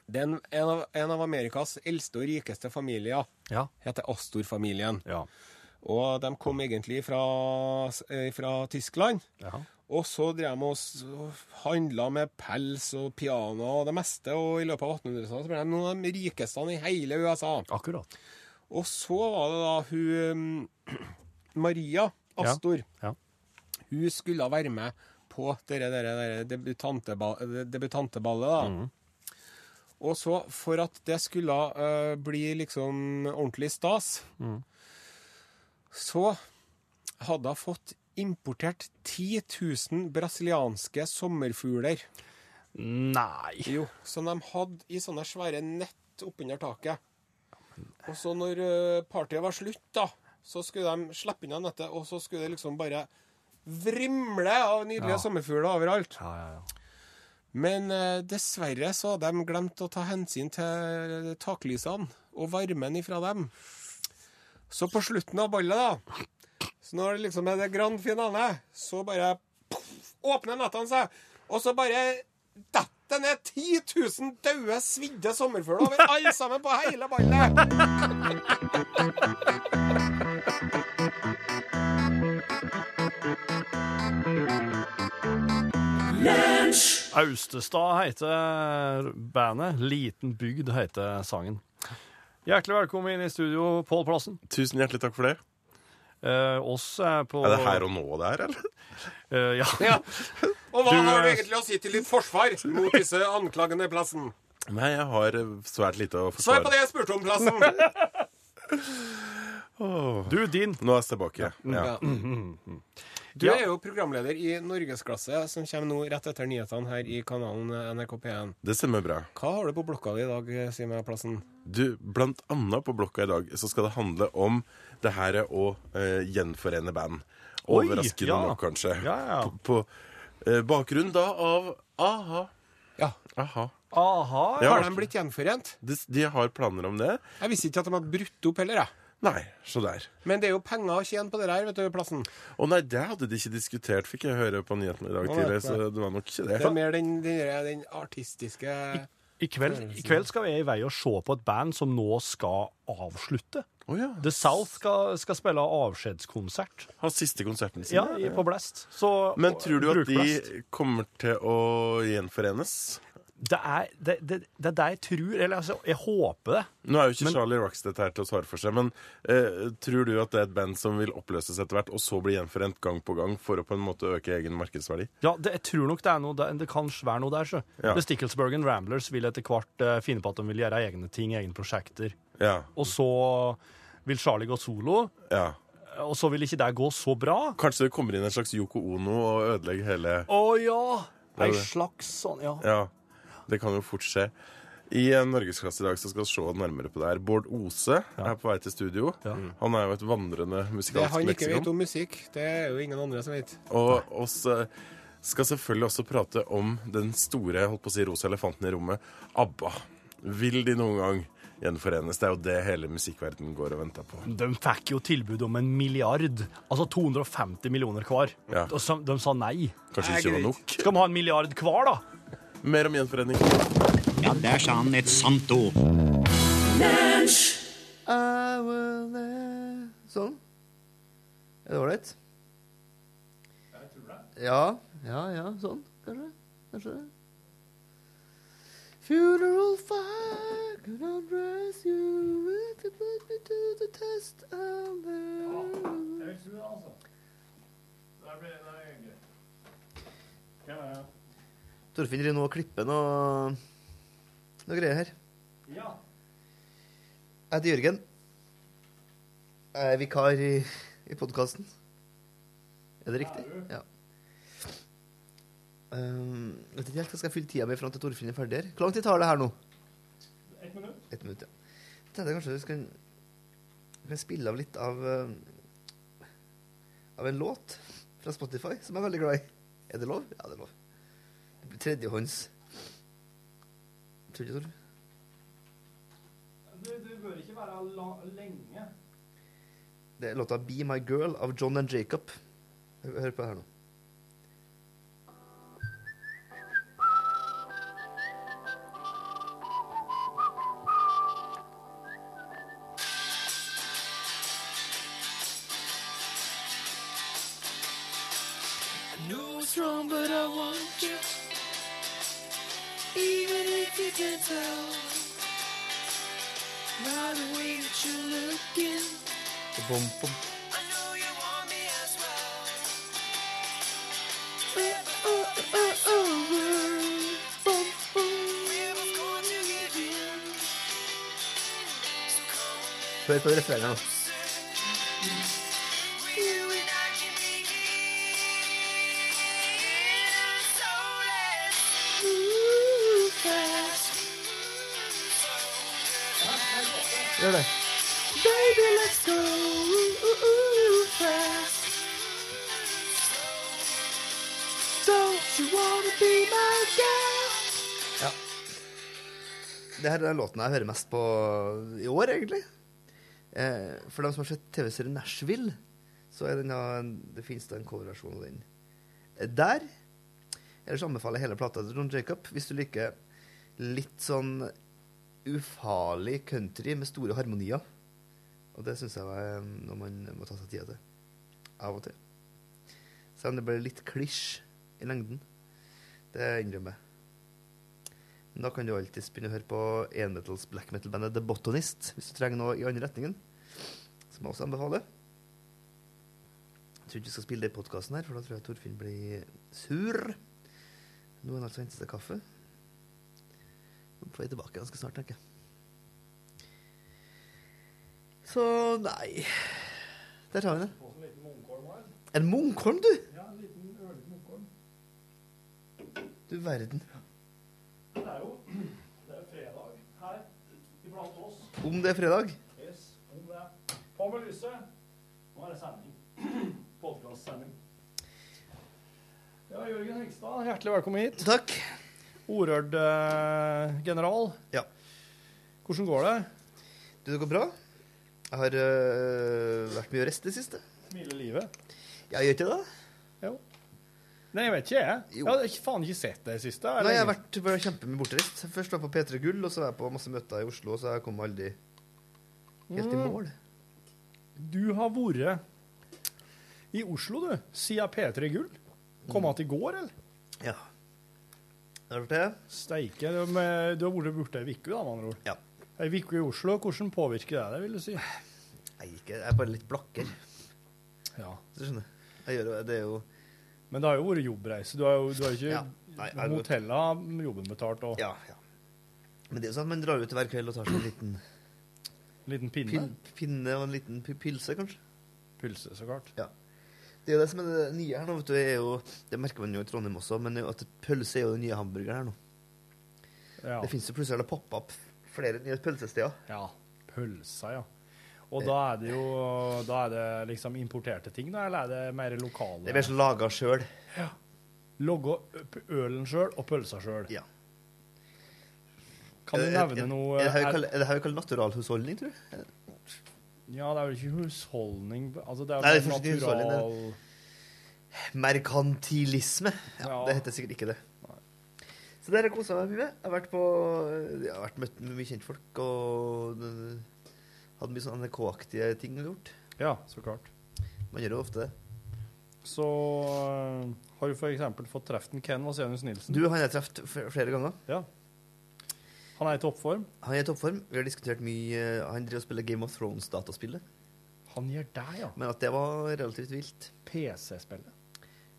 den, en, av, en av Amerikas eldste og rikeste familier
Ja.
heter Astor-familien.
Ja.
Og de kom egentlig fra, eh, fra Tyskland.
Jaha.
Og så drev de og s- og handla med pels og piano og det meste, og i løpet av 1800-tallet så ble de noen av de rikeste i hele USA.
Akkurat.
Og så var det da hun eh, Maria Astor.
Ja.
Hun skulle være med på dere, dere, dere debutanteba- eh, debutanteballet, da. Og så, for at det skulle eh, bli liksom ordentlig stas, så hadde hun fått importert 10 000 brasilianske sommerfugler.
Nei.
Jo, som de hadde i sånne svære nett oppunder taket. Og så når eh, partiet var slutt, da, så skulle de slippe unna nettet, og så skulle det liksom bare vrimle av nydelige
Ja.
sommerfugler overalt.
Ja, ja, ja.
Men eh, dessverre så hadde de glemt å ta hensyn til taklysene og varmen ifra dem. Så på slutten av ballet, da, så når det liksom er det grand finale, så bare puff, åpner nettene seg, og så bare detter ned 10 000 døde, svidde sommerfugler over alle sammen på hele ballet.
Austestad heter bandet. Liten bygd heter sangen. Hjertelig velkommen inn i studio, Pål Plassen.
Tusen hjertelig takk for det.
Eh, oss er på
Er det her og nå det er, eller?
Eh, ja.
Ja. Og hva
Du,
har du
eh,
egentlig å si til ditt forsvar mot disse anklagene, Plassen?
Nei, jeg har eh, svært lite å
Svar på
forsvare.
det jeg spurte om, Plassen.
Du, din.
Nå er jeg tilbake. Ja.
Du
Ja.
er jo programleder i Norgesklasse, som kommer nå rett etter nyhetene her i kanalen eh, NRK P1.
Det stemmer bra.
Hva har du på blokka di i dag, eh, si meg, Plassen?
Du, blant annet på blokka i dag så skal det handle om det her å eh, gjenforene band.
Oi,
Overraskende
ja.
nok, kanskje.
Ja, ja.
På, på eh, bakgrunn da av a-ha.
Ja.
Aha.
Aha.
Ja.
Har de blitt gjenforent?
De, de har planer om det?
Jeg visste ikke at de hadde brutt opp heller, jeg.
Nei, så der.
Men det er jo penger å tjene på det her, vet du, Plassen.
Å nei, det hadde de ikke diskutert, fikk jeg høre på nyhetene i dag
Å,
tidlig.
nei.
Så det var nok ikke
Det er
det.
mer den, den, den artistiske
I kveld, I kveld skal jeg i vei og se på et band som nå skal avslutte.
Å ja.
The South skal, skal spille avskjedskonsert
Har siste konserten sin.
ja, i, på Blast. Så,
Men tror du
bruk
at
Blast.
de kommer til å gjenforenes?
det er det, det, det er det jeg tror, eller altså, jeg håper det.
Nå er jo ikke
Men-
Charlie Rockstedt her til å svare for seg, men eh, tror du at det er et band som vil oppløses etter hvert, og så bli gjenforent gang på gang for å på en måte øke egen markedsverdi?
Ja, det, jeg tror nok det er noe der, det kan være noe der, så.
Ja.
The Stickelsbergen Ramblers vil etter hvert eh, finne på at de vil gjøre egne ting, egne prosjekter.
Ja.
Og så vil Charlie gå solo, eh,
ja.
og så vil ikke det gå så bra.
Kanskje det kommer inn en slags Yoko Ono og ødelegger hele
Å ja!
er
Ei
det.
slags sånn, ja.
Ja, det kan jo fort skje. I en norgesklasse i dag så skal vi se nærmere på det her. Bård Ose er på vei til studio. Han er jo et vandrende
Det
musikalsk
han ikke vet
leksikon.
om musikk, det er jo ingen andre som vet.
Og oss eh, skal selvfølgelig også prate om den store jeg holdt på å si, rosa elefanten i rommet, ABBA. Vil de noen gang gjenforenes? Det er jo det hele musikkverdenen går og venter på.
De fikk jo tilbud om en milliard. Altså 250 millioner hver.
Ja.
Og så, de sa nei.
Kanskje det
Nei,
ikke var
greit.
nok?
Skal vi ha en milliard hver, da?
Mer om gjenforening.
Ja, der sa han et sant ord.
I will eh, Sånn. Er det ålreit? Ja, ja, ja. Sånn, kanskje. Kanskje det. Funeral fire could undress you if you put me to the test and there Torfinn driver nå og klipper noe, noe greier her. Jeg heter Jørgen. Jeg er vikar i, i podkasten. Er det riktig? Ja. Um, jeg vet ikke helt hva jeg skal fylle tida mi fram til Torfinn er ferdig her. Hvor lang tid tar det her nå? Ett minutt. Ett minutt, ja. Jeg tenkte kanskje vi skal vi kan spille av litt av um, av en låt fra Spotify som jeg er veldig glad i. Er det lov? Ja, det er lov. Det blir tredjehånds. Tror du ikke, Torfinn? Det er låta 'Be My Girl' av John and Jacob. Hør hør på det her nå. Bom, bom. Hør på det refrenget nå. Gjør det. Baby, let's go ooh, ooh, fast. Don't you wanna be my girl? Ja. Det her er den låten jeg hører mest på i år, egentlig. Eh, for dem som har sett TV-serien Nashville, så er den da en, det finnes da en coverversjon av den eh, der. Ellers anbefaler jeg hele plata til John Jacob hvis du liker litt sånn ufarlig country med store harmonier. Og det syns jeg er noe man må ta seg tida til. Av og til. Selv om det blir litt klisj i lengden. Det innrømmer jeg. Men da kan du alltids begynne å høre på enmetals black metal-bandet The Botanist, hvis du trenger noe i andre retningen, som jeg også anbefaler. Jeg tror ikke vi skal spille det i podkasten her, for da tror jeg Torfinn blir sur. Nå har han altså hentet seg kaffe. Nå får jeg tilbake ganske snart, tenker jeg. Så nei Der har vi det. En munkholm, du? Ja, en liten munkholm. Du verden. Om det er fredag?
På med lyset. Nå er det sending. Podkast-sending.
Ja, Jørgen Hegstad, hjertelig velkommen hit.
Takk.
Orørd-general.
Ja.
eh, Hvordan går det?
Du, det går bra? Jeg har øh, vært mye å riste i det siste.
Smiler livet?
Jeg gjør ikke det.
Nei, jeg vet ikke, jeg.
Jo.
Jeg hadde ikke- faen ikke sett det i siste.
Nei, jeg har vært bare kjempemye bortreist. Først var jeg på P3 Gull, og så var jeg på masse møter i Oslo, og så jeg kom aldri helt i mål.
Du har vært i Oslo, du. Siden P3 Gull. Kom att i går, eller?
Ja. Har du hørt det?
Steike. Du med- du har vært borte ei uke, da, med andre ord.
Ja.
Ei uke i Oslo. Hvordan påvirker det deg, vil du si?
Nei, ikke. Jeg er bare litt blakker.
Ja.
hvis Du skjønner. Jeg gjør, jo- det er jo
Men det har jo vært jobbreise. Du har jo du har ikke
Ja. Nei, jeg-
Hotella har jobben betalt og
Ja. ja. Men det er jo sånn at man drar ut hver kveld og tar seg en liten
en liten pinne.
pin, pinne og en liten pi- pilse, kanskje.
Pølse, så klart.
Det er jo det som er det nye her nå, vet du, er jo, det merker man jo i Trondheim også, men jo at pølse er jo den nye hamburgeren her nå.
Ja.
Det finnes jo plutselig har det poppet opp flere nye pølsesteder.
ja. Pølsa, ja. Og da er det jo Da er det liksom importerte ting, da, eller er det mer lokale?
Det er mer sånn laget selv.
Logge opp ølen sjøl og pølsa sjøl.
Ja.
Kan du
Er- er-
nevne noe
Er det her vi
er-
kaller- er det her vi kaller naturalhusholdning, tror du?
Ja, det er vel ikke husholdning altså det er
Nei, det
vel
er fortsatt ikke husholdning, det.
natural...
Merkantilisme. Ja,
Ja.
Det heter sikkert ikke det. Så det har jeg koset meg mye med. Jeg har vært på, jeg har vært møtt med mye kjentfolk, og øh, hadde mye sånn NRK-aktige ting gjort.
Ja, så klart.
Man gjør jo ofte det.
Så øh, har du for eksempel fått treffe Ken Vasenius Nilsen.
Du, han har jeg treffet f- flere ganger.
Han er i toppform.
Han er i toppform. Vi har diskutert mye øh, Han driver og spiller Game of Thrones-dataspillet.
Han gjør det, ja.
Men at det var relativt vilt.
PC-spillet.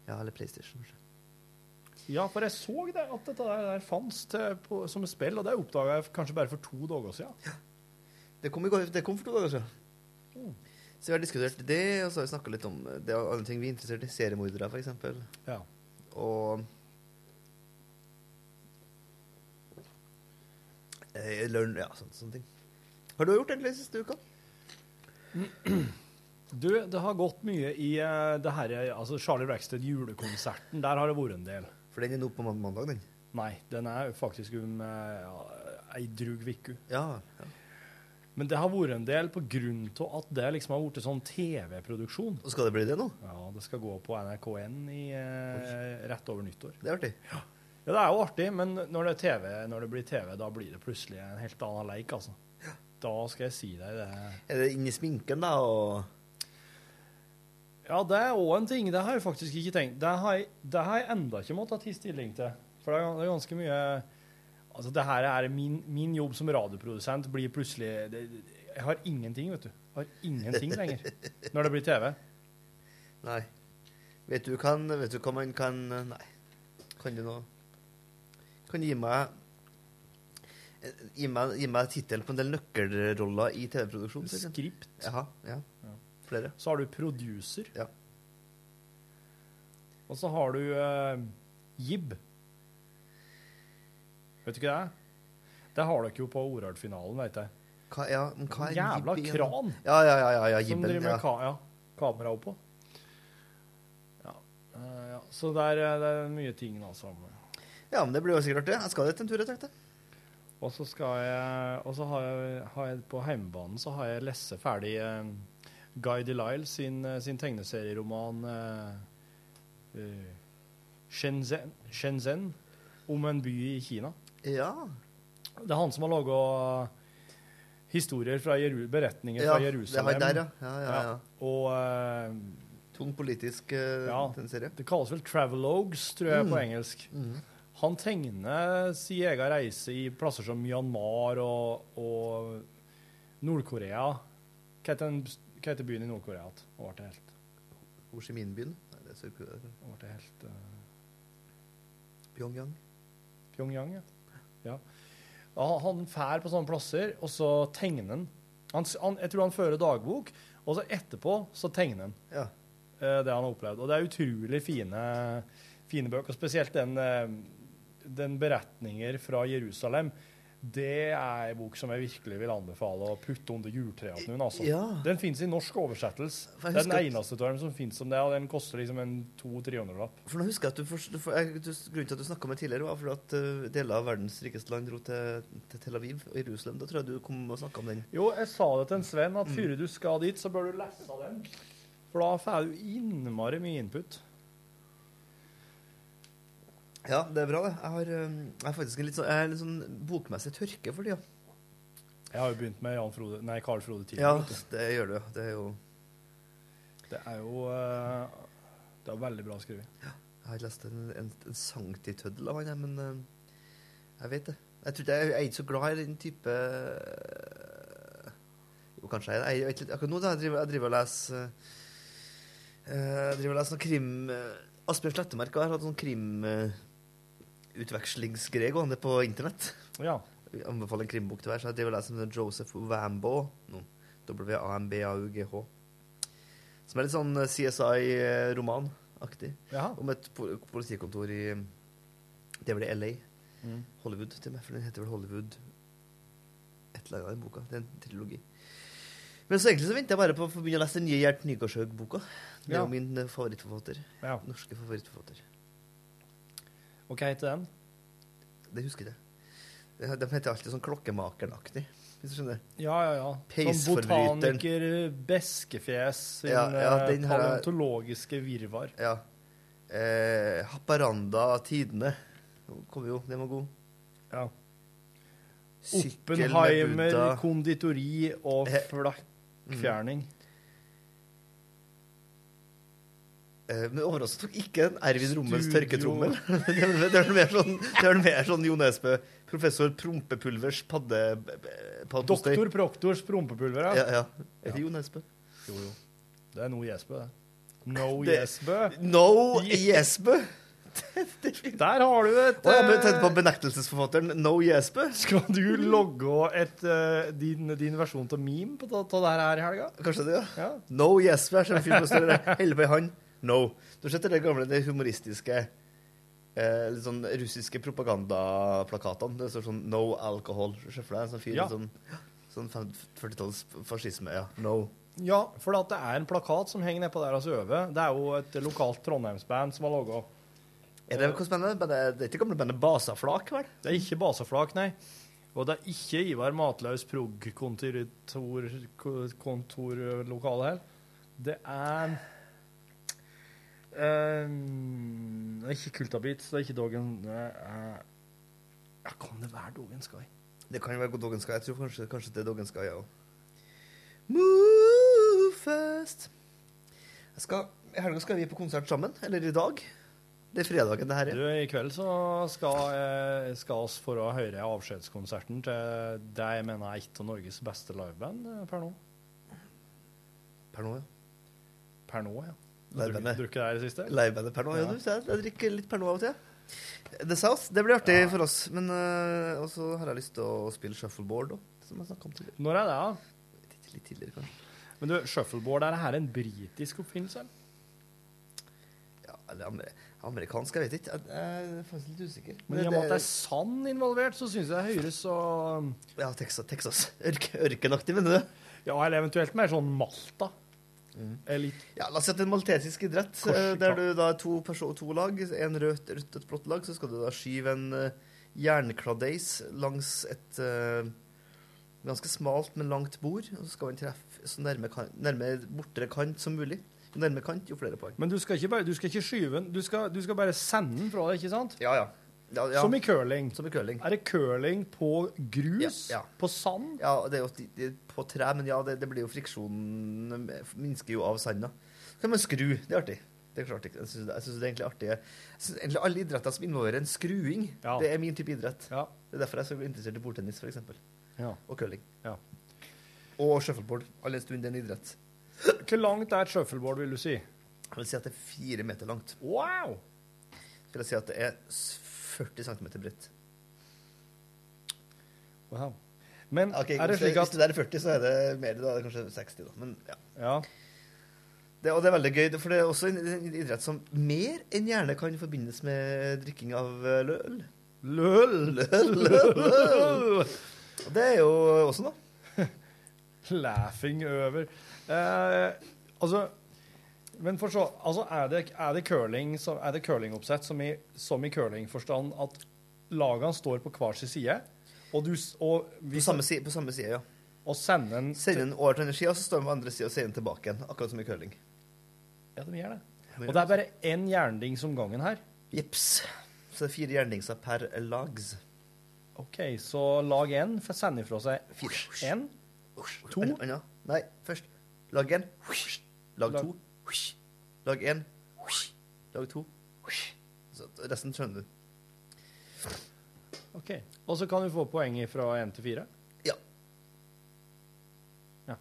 Ja, eller PlayStation. kanskje.
Ja, for jeg så det, at dette der, der fanns til, på, som et spill, og det oppdaga jeg kanskje bare for to dager siden.
Det kom, i går, det kom for to dager siden.
Oh.
Så vi har diskutert det, og så har vi snakka litt om eh, det og andre ting vi er interessert i. Seriemordere, f.eks.
Ja.
Og Eh, Lønn Ja, sånne, sånne ting. Har du gjort egentlig den siste uka?
Du, det har gått mye i eh, det her, altså Charlie Braxted julekonserten. Der har det vært en del.
For den er nå på man- mandag, den.
Nei, den er faktisk om eh, ja, ei drug uke.
Ja. ja.
Men det har vært en del på grunn av at det liksom har blitt sånn TV-produksjon.
Og skal det bli det nå?
Ja, det skal gå på NRK1 i, eh, rett over nyttår.
Det er artig.
Ja, det er jo artig, men når det, er TV, når det blir TV, da blir det plutselig en helt annen leik, altså. Da skal jeg si deg det.
Er det inni sminken, da, og
Ja, det er òg en ting. Det har jeg faktisk ikke tenkt. Det har jeg, det har jeg enda ikke måttet ta stilling til. For det er, det er ganske mye Altså, det her er min, min jobb som radioprodusent blir plutselig det, det- Jeg har ingenting, vet du. Jeg har ingenting lenger når det blir TV.
Nei. Vet du, kan, vet du hva man kan Nei. Kan du noe Kan du gi meg eh, Gi meg, gi meg tittel på en del nøkkelroller i TV-produksjon? for eksempel?
Skript.
Jaha, ja. Flere.
Så har du producer.
Ja.
Og så har du eh, jib. Vet du ikke det? Det har dere jo på Orard-finalen, vet jeg.
Hva, ja, men hva er
Jævla
jibben?
kran
Ja, ja, ja. ja, ja
som
jibben.
driver med
Ja.
ka ja, kamera oppå. Ja. eh, ja. Så det er, eh, det er mye ting, altså.
ja, men det blir jo sikkert artig. Jeg skal dit en tur, jeg tenkte.
Og så skal jeg Og så har jeg, har jeg på hjemmebanen så har jeg lest ferdig eh, Guy Delisle sin, eh, sin tegneserieroman eh, eh, Shenzhen, Shenzhen om en by i Kina.
Ja.
Det er han som har laga historier fra Jeru beretninger
ja
fra
det
Jerusalem.
har jeg der, ja. Ja, ja, ja.
Og eh,
Tung politisk uh,
Ja.
den serie. Mm.
Det kalles vel travelogues, tror jeg, på engelsk. Han tegner sin egen reise i plasser som Myanmar og, og Nord-Korea. Hva heter den- hva heter byen i Nord-Korea? at- Nå ble det helt,
Ho Chi Minh-byen. Nei, det er Sør-Korea. det er
nå ble det helt eh,
Pyongyang.
Pyongyang, ja. ja. Ja, Han fær på sånne plasser, og så tegner han. han, s- han jeg tror han fører dagbok, og så etterpå så tegner han
Ja.
eh, det han har opplevd. Og det er utrolig fine, fine bøker, og spesielt den, eh, den beretninger fra Jerusalem. Det er en bok som jeg virkelig vil anbefale å putte under juletreet til noen. Altså.
Ja.
Den fins i norsk oversettelse.
For jeg
Det er den
husker at-
eneste av dem som fins som det, og den koster liksom en 200-300-lapp.
For nå husker jeg at du, forst- du, for, jeg, du Grunnen til at du snakka med tidligere, var fordi at eh, deler av verdens rikeste land dro til, til Tel Aviv og Jerusalem. Da tror jeg du kom og snakka om den.
Jo, jeg sa det til en Sven, at før du skal dit, så bør du lese den. For da får du innmari mye input.
Ja, det er bra, det. Jeg har, eh, jeg har faktisk en litt sånn, jeg er litt sånn bokmessig tørke for tida.
Jeg har jo begynt med Jan Frode, nei, Carl Frode Tiller.
Ja,
vet du.
det gjør du. Det er jo
Det er jo eh, det er veldig bra skrevet.
Jeg har lest en, en, en sangtitøddel av han, jeg, men eh, jeg vet det. Jeg, tror ikke, jeg, jeg er ikke så glad i den type eh, Jo, kanskje jeg er jeg vet litt- Akkurat nå da, jeg driver jeg driver og leser eh, Jeg driver og leser noe krim eh, Asbjørn Slettemark har hatt sånn krimutvekslingsgreie gående på internett.
Ja.
Jeg anbefaler en krimbok til hver, så jeg driver og leser om den Joseph Wambo. nå. W-A-M-B-A-U-G-H. Som er litt sånn eh, CSI-roman-aktig
Jaha.
om et po- politikontor i Det er vel i LA.
Mm.
Hollywood, til og med. For den heter vel Hollywood Et eller annet i boka. Det er en trilogi. Men så egentlig så venter jeg bare på å få begynne å lese den nye Gjert Nygaardshaug-boka. Det er
Ja.
jo min eh, favorittforfatter.
ja.
Norske favorittforfatter.
Og hva heter den?
Det husker jeg. De de heter alltid sånn Klokkemakeren-aktig, hvis du skjønner.
Ja, ja, ja. Som
Peisforbryteren.
botaniker eh, Beskefjes sin
Ja, ja,
eh,
den her er-
paleontologiske virvar.
Ja. Eh, Haparanda Tidene. Nå Kommer jo, den var god.
Ja.
Sykkel med
Oppenheimer,
Buddha.
konditori og
Eh, mm.
flakkfjerning.
Eh, Men overraskende tok ikke en Ervin Rommels
Studio.
tørketrommel. det er vel- det er vel mer sånn, det er vel mer sånn Jo Nesbø, professor Prompepulvers padde... paddepostei.
Doktor Proktors prompepulver, ja.
Ja, ja. Eller Jo Nesbø.
Jo, jo. Det er noe Jesbø, det. No
Det-
Jesbø.
No
Yes.
Jesbø!
Der har du et
Å, jeg ble
eh,
tett på benektelsesforfatteren No Jesbø.
Skal du logge et, eh, din, din versjon av meme på ta- ta det her i helga?
Kanskje det, ja.
Ja.
No Jesbø. Jeg ser en film på stedet der. Holder på ei hand. No. Du har sett det gamle, det humoristiske eh, litt sånn russiske propagandaplakatene. Det står sånn 'No alcohol'. Se for deg en sånn fyr
Ja.
i sånn, sånn fem- 40-talls fascisme. Ja. No.
Ja, for at det er en plakat som henger nedpå der og sover. Det er jo et lokalt Trondheimsband som har laga.
Er det hvordan bandet? bandet? Det er ikke gamle bandet Basaflak, vel?
Det er ikke Basaflak, nei. Og det er ikke Ivar Matlaus prog-kontorlokale her. Det er ehm, Det er ikke Kultabits, det er ikke Dogen Det er Ja, kan det være Dogen Sky?
Det kan jo være Doggen Sky. Jeg tror kanskje, kanskje det er Doggen Sky, ja. Move fast. Jeg skal, I helga skal vi på konsert sammen. Eller i dag. Det er fredagen, det her.
Du,
er.
I kveld så skal, eh, skal oss for å høre avskjedskonserten til det jeg mener er et av Norges beste liveband eh, per nå.
Per nå, ja.
Per nå, ja.
Livebandet.
Drukket drukket det her i det siste?
Livebandet per nå. Ja,
Ja.
du ser, jeg drikker litt per nå av og til. The South. Det blir artig for oss. Men øh, Og så har jeg lyst til å spille shuffleboard, da. Som jeg snakka om tidligere.
Når er det, da?
Litt, litt tidligere, kanskje.
Men du, shuffleboard, er det her en britisk oppfinnelse? eller?
Ja, eller amer amerikansk, jeg vet ikke. Jeg, jeg er faktisk litt usikker.
Men i og med at det er sand involvert, så syns jeg det høres så
Ja, Texas. Texas. Ørk, ørkenaktig, mener du?
Ja, eller eventuelt mer sånn Malta. Eller litt
Ja, La oss si at det er en maltesisk idrett, eh,
Korsika.
der du da er to, perso- to lag, en rødt, rødt et blått lag, så skal du da skyve en eh, jernkladdeis langs et eh, ganske smalt, men langt bord, og så skal man treffe så nærme, kan, nærme bortre kant som mulig. Jo nærme kant, jo flere poeng.
Men du skal ikke, bare, du skal ikke skyve den, du skal, du skal bare sende den fra deg, ikke sant?
Ja, ja. ja, ja.
Som i curling.
Som i curling.
Er det curling på grus?
Ja, ja.
På sand?
Ja, det er jo de- de- på eh, tre, men ja, det, det blir jo friksjonen minsker jo av sanda. Så kan man skru. Det er artig. Det klarte ikke. Jeg syns jeg synes det er egentlig artig. Jeg synes egentlig alle idretter som involverer en skruing,
Ja.
det er min type idrett.
Ja.
Det er derfor jeg er så interessert i bordtennis, for eksempel.
Ja.
Og curling.
Ja.
Og shuffleboard. All en stund det er en idrett.
Hvor langt er et shuffleboard, vil du si?
Jeg vil si at det er fire meter langt.
Wow!
Jeg vil si at det er s- 40 cm bredt.
wow. Men
Ok,
er det
hvis, det,
slik
hvis
at
det der er 40, så er det mer. Da er det kanskje 60, da. Men ja.
Ja.
Det, og det er veldig gøy, for det er også en, en idrett som mer enn gjerne kan forbindes med drikking av eh, løl. Løl, løl, løl, løl. Og Det er jo også noe.
Laughing over. Eh, altså Men for så altså, er, det, er det curling som, er det curlingoppsett som i, som i curlingforstand at lagene står på hver sin side, og du s- og, vi,
På samme, si- på samme side, ja.
og sender en
Sender den over til energi, og så står den på andre sida og sender den tilbake igjen. Akkurat som i curling.
Ja, de gjør det. Og det er bare én jerndings om gangen her.
Jips. Så det er fire jerndingser per lags.
OK, så lag én får sende ifra seg
Fire.
én. To.
An- anna. Nei, først lag én. Lag
Lag-
to. Lag én. Lag to. Så resten skjønner du.
OK. Og så kan du få poeng fra én til fire.
Ja.
Ja.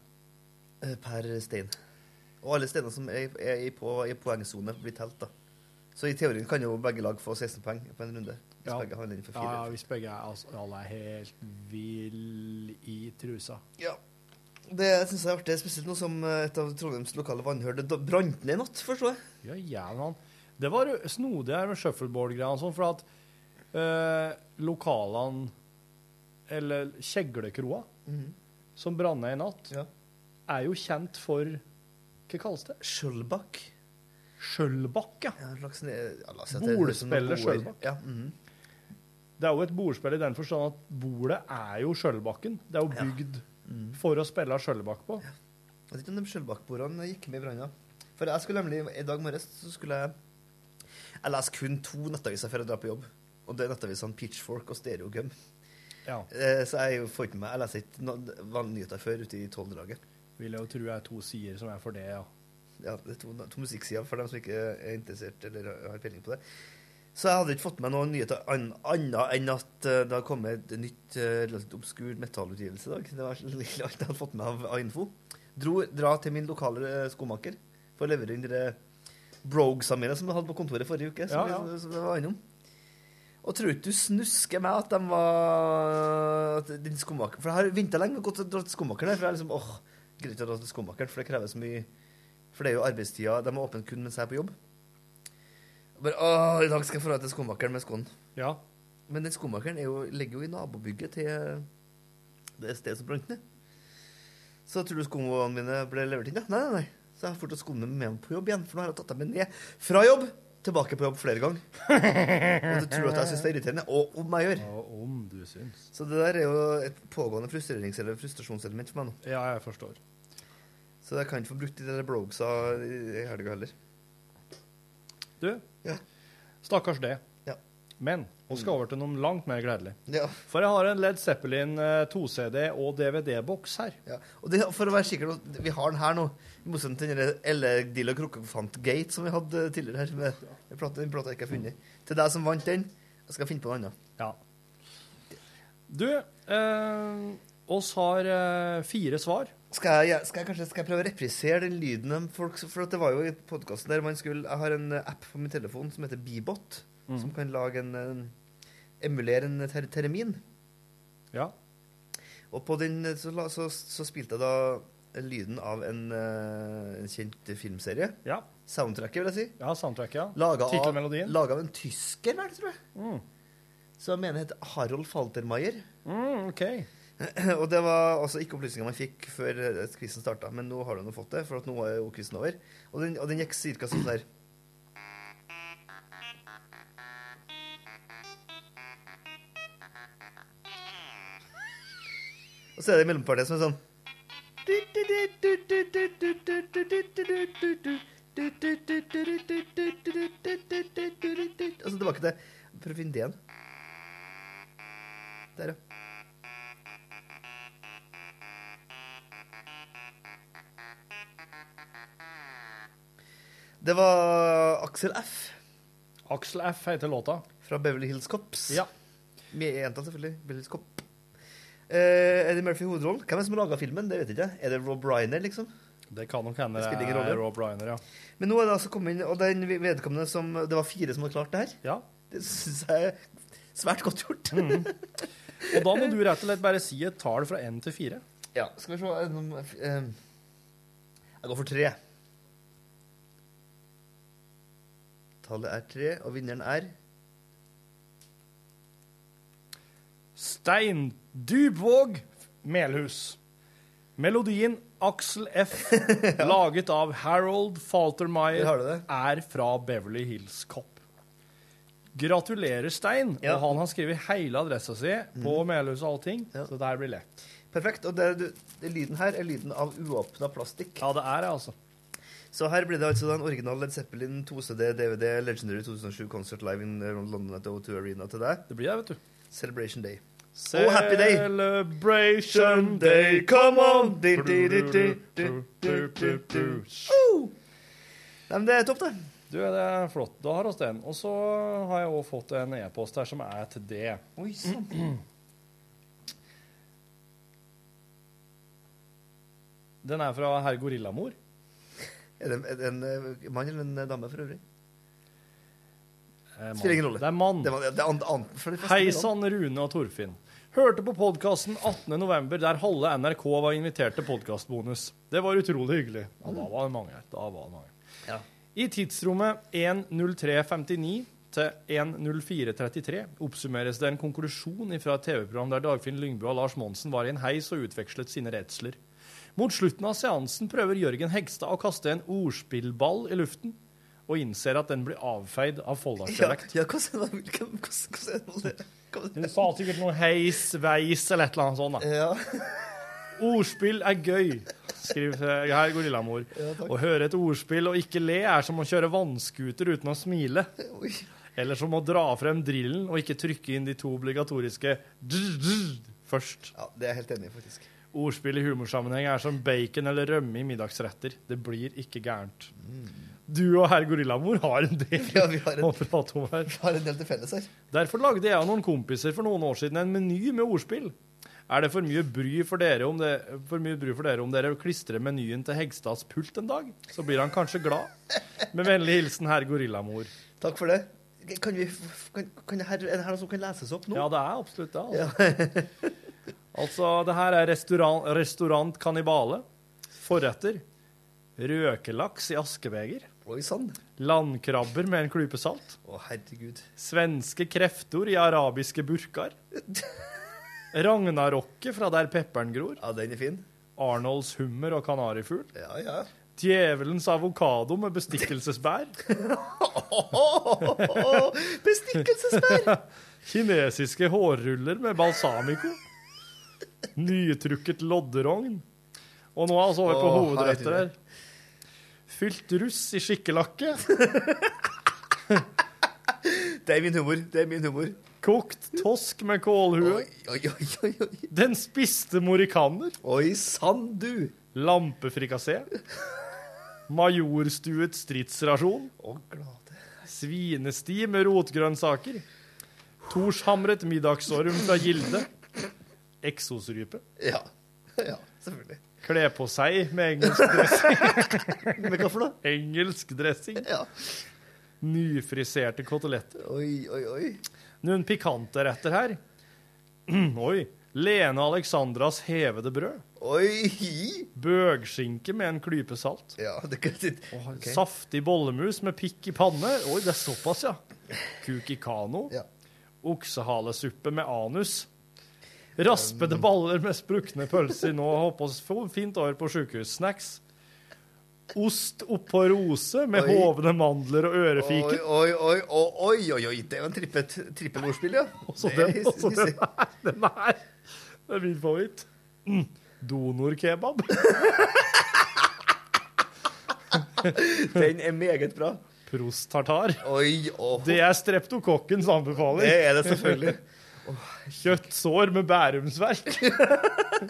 Eh, Per stein. Og alle steiner som er, er i, på, i poengsone, blir telt, da. Så i teorien kan jo begge lag få 16 poeng på en runde. Hvis
Ja.
begge handler inn for
Ja,
fire.
hvis begge er, altså, alle er helt vill i trusa.
Ja. Det syns jeg er artig, spesielt nå som eh, et av Trondheims lokale vannhull det da- brant ned i natt, forstår jeg.
Ja, jævlig, mann. Det var jo snodig her med shuffleboard-greiene og sånn, for at eh, lokalene Eller Kjeglekroa, som brant ned i natt,
Mhm. Ja.
er jo kjent for Hva kalles det?
Skjølbakk.
Skjølbakk, ja.
Ja, en slags, ned- ja, la oss si at det er liksom noen
Bolespiller
boer.
Skjølbakk.
Ja, mhm.
Det er jo et bordspill i den forstand at bordet er jo Skjølbakken. Det er jo bygd
Mhm.
for å spille skjølbakk på.
Jeg vet ikke om de skjølbakkbordene gikk med i branna. For jeg skulle nemlig, I dag morges så skulle jeg Jeg leser kun to nettaviser før jeg drar på jobb. Og det er nettavisene Pitchfork og Stereogum.
Ja.
Eh, så jeg får ikke med Jeg leser ikke noen vanlige nyheter før ute i tolvdraget.
Vil jeg jo tro er to sider som er for det, ja.
Ja, det er to, to musikksider for dem som ikke er interessert eller har peiling på det. Så jeg hadde ikke fått med noen nyheter an- annet enn at eh, det har kommet et nytt eh, relativt obskurt metallutgivelse i dag. Det var så lille alt jeg hadde fått med av, av info. Dro, dra til min lokale eh, skomaker for å levere inn de broguesa mine som jeg hadde på kontoret forrige uke. Som,
Ja, ja.
Vi, som jeg var innom. Og tror ikke du snusker meg at de var at din skomaker For jeg har venta lenge med å gå til- dra til skomakeren. her, For jeg er liksom, åh, greier ikke å dra til skomakeren, for det krever så mye For det er jo arbeidstida. De er åpne kun mens jeg er på jobb. Og Bare, åh, I dag skal jeg få dra til skomakeren med skoen.
Ja.
Men den skomakeren er jo, ligger jo i nabobygget til det stedet som brant ned. Så tror du skoene mine ble levert inn? Ja. Nei, nei, nei. Så jeg har fortsatt skoene med meg på jobb igjen, for nå har jeg tatt dem med ned fra jobb, tilbake på jobb flere ganger. Og du tror at jeg syns det er irriterende? Og om jeg gjør.
Og om du syns.
Så det der er jo et pågående frustrerings- eller frustrasjonselement for meg nå.
Ja, jeg forstår.
Så jeg kan ikke få brukt de der blogsa i helga heller.
Du,
Ja.
stakkars det.
Ja. Mm.
Men vi skal over til noe langt mer gledelig.
Ja.
For jeg har en Led Zeppelin eh, 2-CD og DVD-boks her.
Ja. Og det, for å være sikker, nå, vi har den her nå. I motsetning til den Elle Dill og Krokkefant Gate som vi hadde tidligere her. Med, med plate, den plata jeg ikke har funnet. Til deg som vant den, jeg skal finne på noe annet.
Ja. Du, eh, oss har eh, fire svar.
Skal jeg, skal jeg kanskje skal jeg prøve å reprisere den lyden av folk For at det var jo i podkasten der man skulle Jeg har en eh, app på min telefon som heter Bibot, som kan lage en, eh, emulere en ter termin.
Ja.
Og på den eh, så, la- så, så spilte jeg da lyden av en, eh, en kjent filmserie.
Ja,
Soundtracket, vil jeg si.
ja soundtracket, ja.
Laga av,
Titelmelodien.
laget av en tysker, vel, tror jeg. Som jeg mener het Harold Faltermeier.
Mm, OK.
Og det var altså ikke opplysninger man fikk før eh, quizen starta, men nå har du nå fått det, for at nå er jo quizen over. Og den, og den gikk cirka sånn der. Og så er det mellompartiet som er sånn Og så Altså, tilbake til Prøv å finne det igjen. Der, ja. Det var Aksel F.
Aksel F heter låta.
Fra Beverly Hills Cops.
Ja.
Med jenta, selvfølgelig. Beverly Hills Cop. Eh, Eddie Murphy i hovedrollen. Hvem er det som laga filmen? Det vet jeg ikke. Er det Rob Reiner, liksom?
Det kan nok hende
Det
det
spiller ingen
er
rolle.
Rob Reiner, ja.
Men nå er det altså kommet inn Og den vedkommende som Det var fire som hadde klart det her.
ja.
Det syns jeg er svært godt gjort.
Og da må du rett og slett bare si et tall fra én til fire.
Ja, skal vi se er det noen, eh, Jeg går for tre. Tallet er tre, og vinneren er
Stein Dybvåg Melhus. Melodien Axel F, laget av Harold
Der har du
Faltermeyer,
det.
er fra Beverly Hills Cop. Gratulerer, Stein.
Ja. Mhm.
Og han har skrevet hele adressa si på Melhus og allting,
Ja.
så det her blir lett.
perfekt. Og det, er- det, lyden her er lyden av uåpna plastikk.
Ja, det er det, altså.
Så her blir det altså den originale Led Zeppelin 2CD DVD Legendary 2007 Concert Live in eh, around London at the O2 Arena til deg.
Det blir det, vet du.
Celebration Day. Og Happy Day.
eh,
Celebration Day, come on! Du,
Nei, men det er topp, det.
det er flott. Da har oss den. Og så har jeg også fått en e-post her som er til det.
Oi sann.
Den er fra herr Gorillamor.
Er det en, er det en eh, mann eller en eh, dame for øvrig?
Eh, mann.
Spiller ingen rolle.
Det er mann.
Det var, det er an, an, for det første-
Hei sånn. sann, Rune og Torfinn. Hørte på podkasten 18.11., der halve NRK var invitert til podkastbonus. Det var utrolig hyggelig. Ja, da var det mange her. Da var det mange.
Ja.
I tidsrommet 1.03.59 til 1.04.33 oppsummeres det en konklusjon fra et TV-program der Dagfinn Lyngbø og Lars Monsen var i en heis og utvekslet sine redsler. Mot slutten av seansen prøver Jørgen Hegstad å kaste en ordspillball i luften, og innser at den blir avfeid av
Ja,
folldalsdialekt.
ja, hvordan er det hvordan- hvordan er det- hvordan er
Hun
det?
sa sikkert noe heis, veis eller et eller annet sånt. da.
Ja.
Ordspill er gøy, skriver eh, her gorillamor. å høre et ordspill og ikke le er som å kjøre vannskuter uten å smile.
Oi.
Eller som å dra frem drillen og ikke trykke inn de to obligatoriske dzzz først.
ja, det er jeg helt enig i, faktisk.
Ordspill i humorsammenheng er som bacon eller rømme i middagsretter. Det blir ikke gærent. Du og herr gorillamor har en del
Ja, vi har en-
å prate om her.
Vi har en del til felles her.
Derfor lagde jeg og noen kompiser for noen år siden en meny med ordspill. Er det for mye bry for dere om, det, for mye bry for dere, om dere klistrer menyen til Hegstads pult en dag? Så blir han kanskje glad. Med vennlig hilsen herr Gorillamor.
Takk for det. Kan vi, kan, kan det her, er det her noe som kan leses opp nå?
Ja, det er absolutt det. Altså, altså det her er restaurant, restaurant Kannibale. Forretter. Røkelaks i askebeger.
Oi sann.
Landkrabber med en klype salt.
Å, herregud.
Svenske kreftor i arabiske burkar. Ragnarokket fra der pepperen gror.
Ja, den er fin.
Arnolds hummer og kanarifugl.
Ja, ja.
Djevelens avokado med bestikkelsesbær.
Å, bestikkelsesbær!
Kinesiske hårruller med balsamico. Nytrukket lodderogn. Og nå er vi over på
Å,
hovedretter her.
herre.
Fylt russ i skikkelakke.
Det er min humor. Det er min humor.
Kokt tosk med kålhue.
Oi, oi, oi, oi, oi.
Den spiste morikaner.
Oi sann, du!
Lampefrikassé. Majorstuet stridsrasjon.
Å, glade.
Svinesti med rotgrønnsaker. Torshamret middagsorm fra Gilde. Eksosrype.
Ja. Ja, selvfølgelig.
Kle på seg med engelsk dressing.
Men hva for noe?
engelsk dressing.
Ja.
Nyfriserte koteletter.
Oi, oi, oi.
Noen pikante retter her. Oi. Lene Alexandras hevede brød.
Oi!
Bøgskinke med en klype salt.
Ja, det kan Ok.
Saftig bollemus med pikk i panne. Oi, det er såpass, ja. Kuk i kano.
Ja.
Oksehalesuppe med anus. Raspede baller med sprukne pølser. Nå hopper oss fo- fint over på sjukehussnacks. Ost oppå rose med
Oi.
hovne mandler og
Oi,
ørefiken.
oi, oi, oi, oi, oi, oi. Det er jo en trippet, trippel ordspill, ja.
Også
Det er
den, også
hissig.
den her. Den her. Det er min favoritt. Mm. Donorkebab.
Den er meget bra.
Prost-tartar.
Oi, åh.
Det er streptokokkens
Det
anbefaling.
er det selvfølgelig.
Kjøttsår med bærumsverk.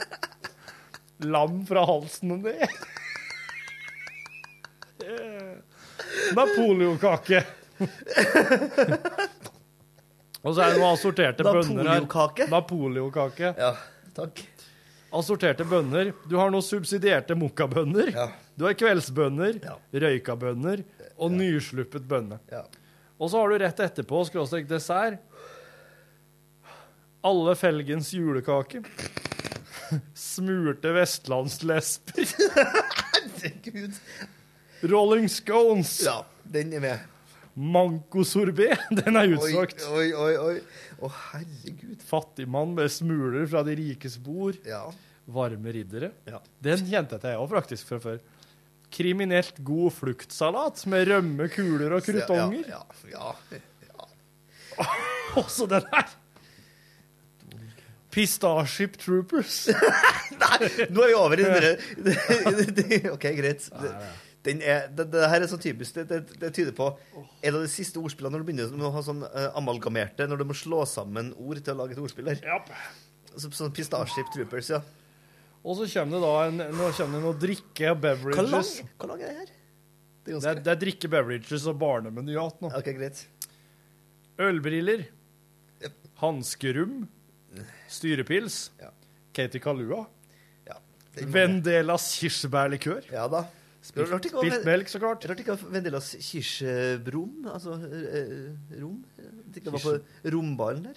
Lam fra halsen og ned. Eh, Napoleonkake. Og så er det noen assorterte bønner her.
Napoleonkake?
Napoleonkake.
Ja, takk.
Assorterte bønner. Du har nå subsidierte mokkabønner.
Ja.
Du har kveldsbønner,
Ja.
røykabønner og nysluppet bønne.
Ja.
Og så har du rett etterpå, skråstrek dessert, alle felgens julekake, smurte vestlandslesper,
Herregud.
rolling scones,
Ja, den er med.
mankosorbet, den er
Oi,
utsolgt.
oi, oi. oi. Å, herregud.
Fattigmann med smuler fra de rikes bord,
Ja.
varme riddere.
Ja.
Den kjente jeg til, jeg òg, faktisk, fra før. Kriminelt god fluktsalat med rømme, kuler og krutonger.
Ja, ja, ja.
Også den her! Pistachip Troopers.
Nei, nå er vi over i den derre OK, greit. Den er, det, det her er så typisk. Det, det, det tyder på En av de siste ordspillene når du begynner med å ha sånn eh, amalgamerte, når du må slå sammen ord til å lage et ordspill her. Så, sånn Pistasjeskip Troopers, ja.
Og så kommer det da en, nå kommer det noe drikke og
Hvor lang,
beverages.
hvor lang er det her? Det er
Det er,
ganske
det er drikke, beverages og barnemeny og alt nå.
OK, greit.
Ølbriller. Hanskerum. Styrepils.
Ja.
Katie Kalua.
Ja, den-
Vendelas kirsebærlikør.
Ja da. Det var rart ikke å-
Spilt melk, så klart.
Rart ikke å vendela kirsebrom, altså eh, rom. At ikke det var på rombaren der.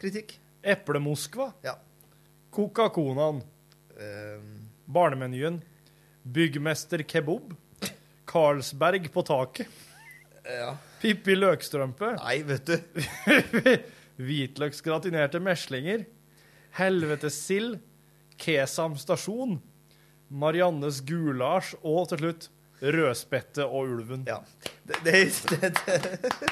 Kritikk.
Eplemoskva.
Ja.
Coca-Conaen.
Eh,
Barnemenyen. Byggmester Kebab. Carlsberg på taket.
Ja.
Pippi Løkstrømpe.
nei, vet du.
Hvitløksgratinerte meslinger. Helvetes sild. Kesam stasjon. Mariannes gulasj. Og til slutt Rødspette og ulven.
Ja. Det, det, det, det.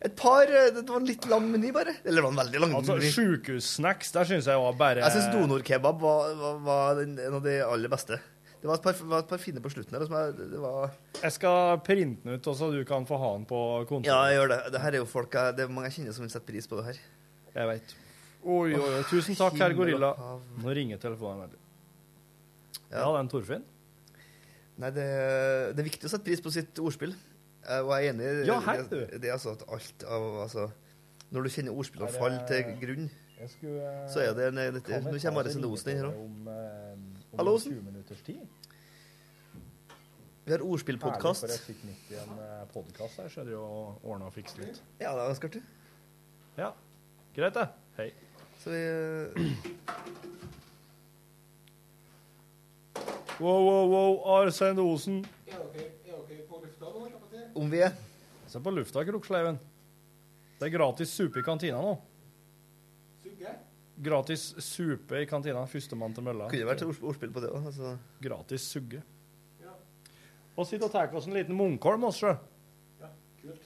Et par eh, Det var en litt lang meny, bare. Eller det var en veldig lang
Altså,
meny.
Sjukehussnacks, der syns jeg var bare
Jeg syns donorkebab var, var, var den, en av de aller beste. Det var et par, var et par fine på slutten her. Som jeg, det var,
Jeg skal printe den ut, og så du kan få ha den på kontoret.
ja, jeg gjør det. Det her er jo folk jeg, Det er mange jeg kjenner som vil sette pris på det her.
Jeg vet. Oi, oi, oi. Tusen takk, herr
himmel og
gorilla.
hav.
Nå ringer telefonen veldig. Ja,
Ja.
den Torfinn.
Nei, det, det er viktig å sette pris på sitt ordspill. Eh, Og jeg er enig i
Ja, hei,
det,
du.
det er altså at alt av altså, Når du kjenner ordspillene
det-
falle til grunn,
Jeg skulle, eh,
så er det en, dette.
kan
Nå
jeg ta
kommer Are
så
Sende
ringe
Osen inn her
dere
òg.
Om, eh, om
Hallo, Osen.
20 minutters tid.
Vi har
Herlig, for
ordspillpodkast.
jeg fikk midt i en eh, podcast her, så jeg driver og ordner og fikser litt.
Ja, det er ganske artig.
Ja, greit det. Hei.
Så vi eh,
Wow, wow, wow, Arsen Osen.
Om vi er
Se på lufta, Kroksleiven. Det er gratis supe i kantina nå. Gratis supe i kantina. Førstemann til mølla.
Kunne vært ord- ordspill på det òg. Altså.
Gratis sugge. Og sitte og ta oss en liten munkholm altså. oss sjøl. Ja, kult.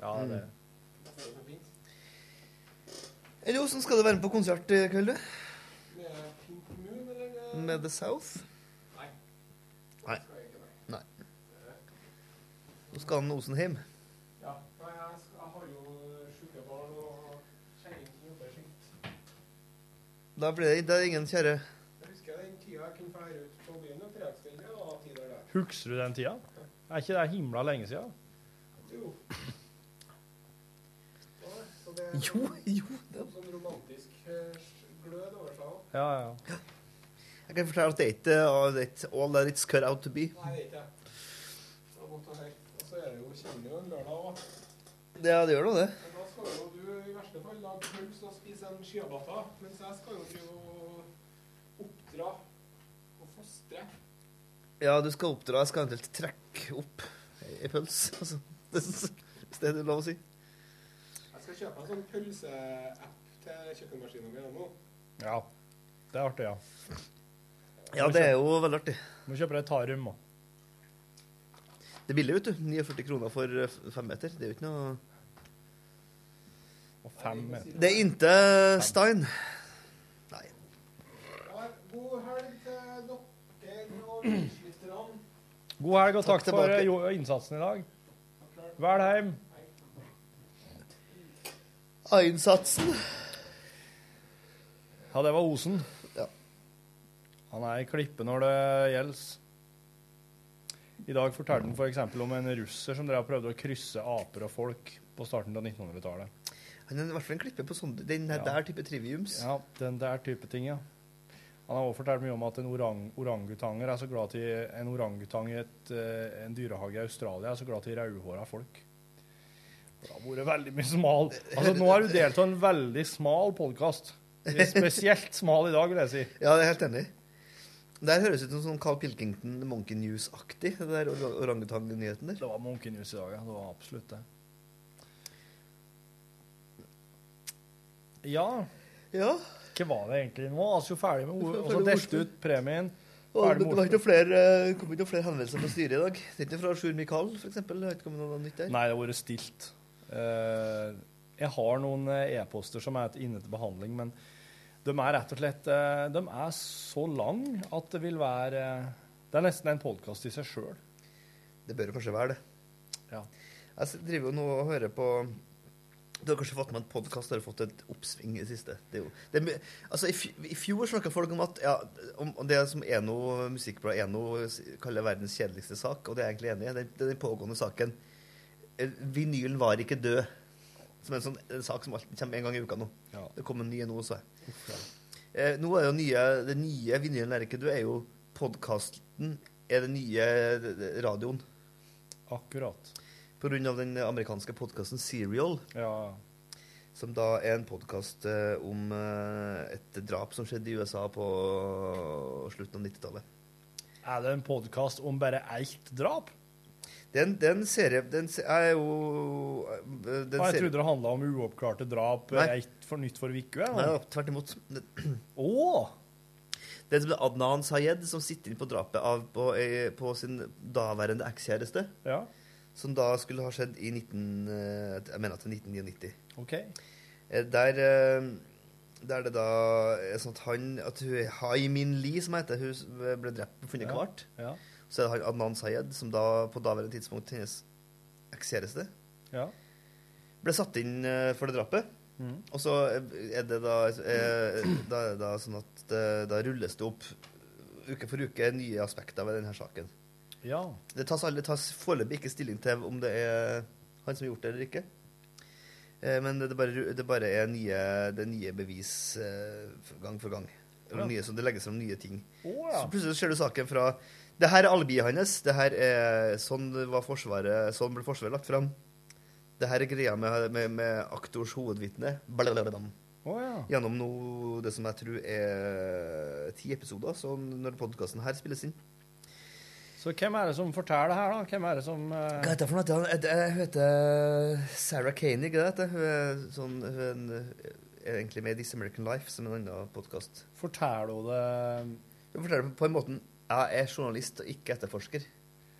Ja, det.
Eller hvordan skal du være med på konsert i kveld, du? Med The South? Nei. Nei. Nå skal han Osen hjem. Da blir det, det er ingen kjære
Husker du den tida? Er ikke det himla lenge sia?
Jo, jo.
Ja, ja.
Jeg kan fortelle at det er ikke uh, det er ikke all that it's cut out to be. Ja, det gjør nå det. Ja, du skal oppdra. Jeg skal eventuelt trekke opp ei- ei pøls. Altså, det er så- hvis det er lov å si.
ja. Det er artig, ja.
Ja, det er jo veldig artig.
Må kjøpe deg tarum òg.
Det er billig, vet du. 49 kroner for eh, f- fem meter. Det er jo ikke noe
Og fem meter.
Det er inte Stein. Nei.
God helg, og
Takk
takk, for
tilbake.
eh, jo, innsatsen i dag. Vel heim.
A-innsatsen.
Ja, det var Osen.
Ja.
Han er i klippe når det gjelder.
I dag fortalte han f.eks. om en russer som drev og prøvde å krysse aper og folk på starten av 1900-tallet.
Han er i hvert fall en klippe på sånne, den her
Ja.
der type triviums.
Ja, den der type ting, ja. Han har også fortalt mye om at en orang orangutanger er så glad til en orangutang i et, eh, en dyrehage i Australia er så glad til rødhåra folk. Det har vært veldig mye smal. Altså, nå har du delt av en veldig smal podkast. Spesielt smal i dag, vil jeg si.
Ja, det er jeg helt enig. i. Det her høres ut som sånn Carl Pilkington Monkey News-aktig, det der or orangutang-nyheten der.
Det var Monkey News i dag, ja. Det var absolutt det. Ja,
Ja,
hva var det egentlig nå? Altså, jo ferdig med ord, og så
Ferdig med
delte
ordspill.
ut premien.
og
Ferdig
det,
med
var
ordspill.
ikke noe flere, eh, kom ikke noe flere henvendelser fra styret i dag. Det er ikke fra Sjur Mikael, for eksempel. Det har ikke kommet noe nytt der.
Nei, det har vært stilt. Eh, jeg har noen eh, e-poster som er til- inne til behandling, men de er rett og slett eh, De er så lang at det vil være eh, Det er nesten en podkast i seg sjøl.
Det bør jo kanskje være det.
Ja.
Jeg s- driver jo nå og hører på Du har kanskje fått med en podkast har fått et oppsving i det siste. Det er jo, det er, mye- altså, i, fj- I fjor snakka folk om at ja, om om det som Eno, musikkbladet Eno s- kaller verdens kjedeligste sak, og det er jeg egentlig enig i, det det er den pågående saken. Eh, Vinylen var ikke død. Som er en sånn en sak som alltid kommer en gang i uka nå.
Ja.
Det kommer en ny nå, så jeg. Eh, nå er jo nye, det nye vinylen er ikke du, er jo podkasten er det nye eh, radioen.
Akkurat.
På grunn av den amerikanske podkasten Serial,
Ja.
som da er en podkast om eh, et drap som skjedde i USA på slutten av 90-tallet.
Er det en podkast om bare ett drap?
Det er en- det er en serie Den se- er jo eh, den
Nei, jeg
serie-
trodde det handla om uoppklarte drap.
Nei.
eh, Ett for nytt for uke.
Nei, ja, tvert imot. Det
Å!
det er som Adnan Sayed som sitter inne på drapet av, på, eh, på sin daværende ekskjæreste,
Ja,
som da skulle ha skjedd i 19, eh, jeg mener at det er 1999.
OK.
Eh, Der, eh, der det da er sånn at han At hun Haimin Lee, som heter, hun som ble drept og funnet
Ja.
kvart.
Ja.
Så er det han Adnan Sayed, som da på daværende tidspunkt hennes ekskjæreste,
ja.
ble satt inn eh, for det drapet. Og så er det da, eh, da, er det da sånn at det- da rulles det opp uke for uke nye aspekter ved denne saken.
ja.
Det tas, alle, tas foreløpig ikke stilling til om det er han som har gjort det eller ikke. Eh, Men det bare, det bare er nye, det er nye bevis eh, gang for gang. Eller
Ja.
nye, så det legges fram nye ting.
Å ja.
Så plutselig så ser du saken fra Det her er alibiet hans. Det her er sånn var forsvaret Sånn ble Forsvaret lagt fram. Det her er greia med, med, med aktors hovedvitne. Blablabla.
Å, ja.
Gjennom nå det som jeg tror er ti episoder, så når podkasten her spilles inn.
Så hvem er det som forteller det her, da? Hvem er det som
Hva
eh,
heter det for noe? Jeg, jeg heter eh, Sarah Kaney, ikke det? Hun er, sånn, hun er, en, er egentlig med i This American Life, som en annen podkast.
forteller hun det
Hun forteller på en måte jeg er journalist og ikke etterforsker.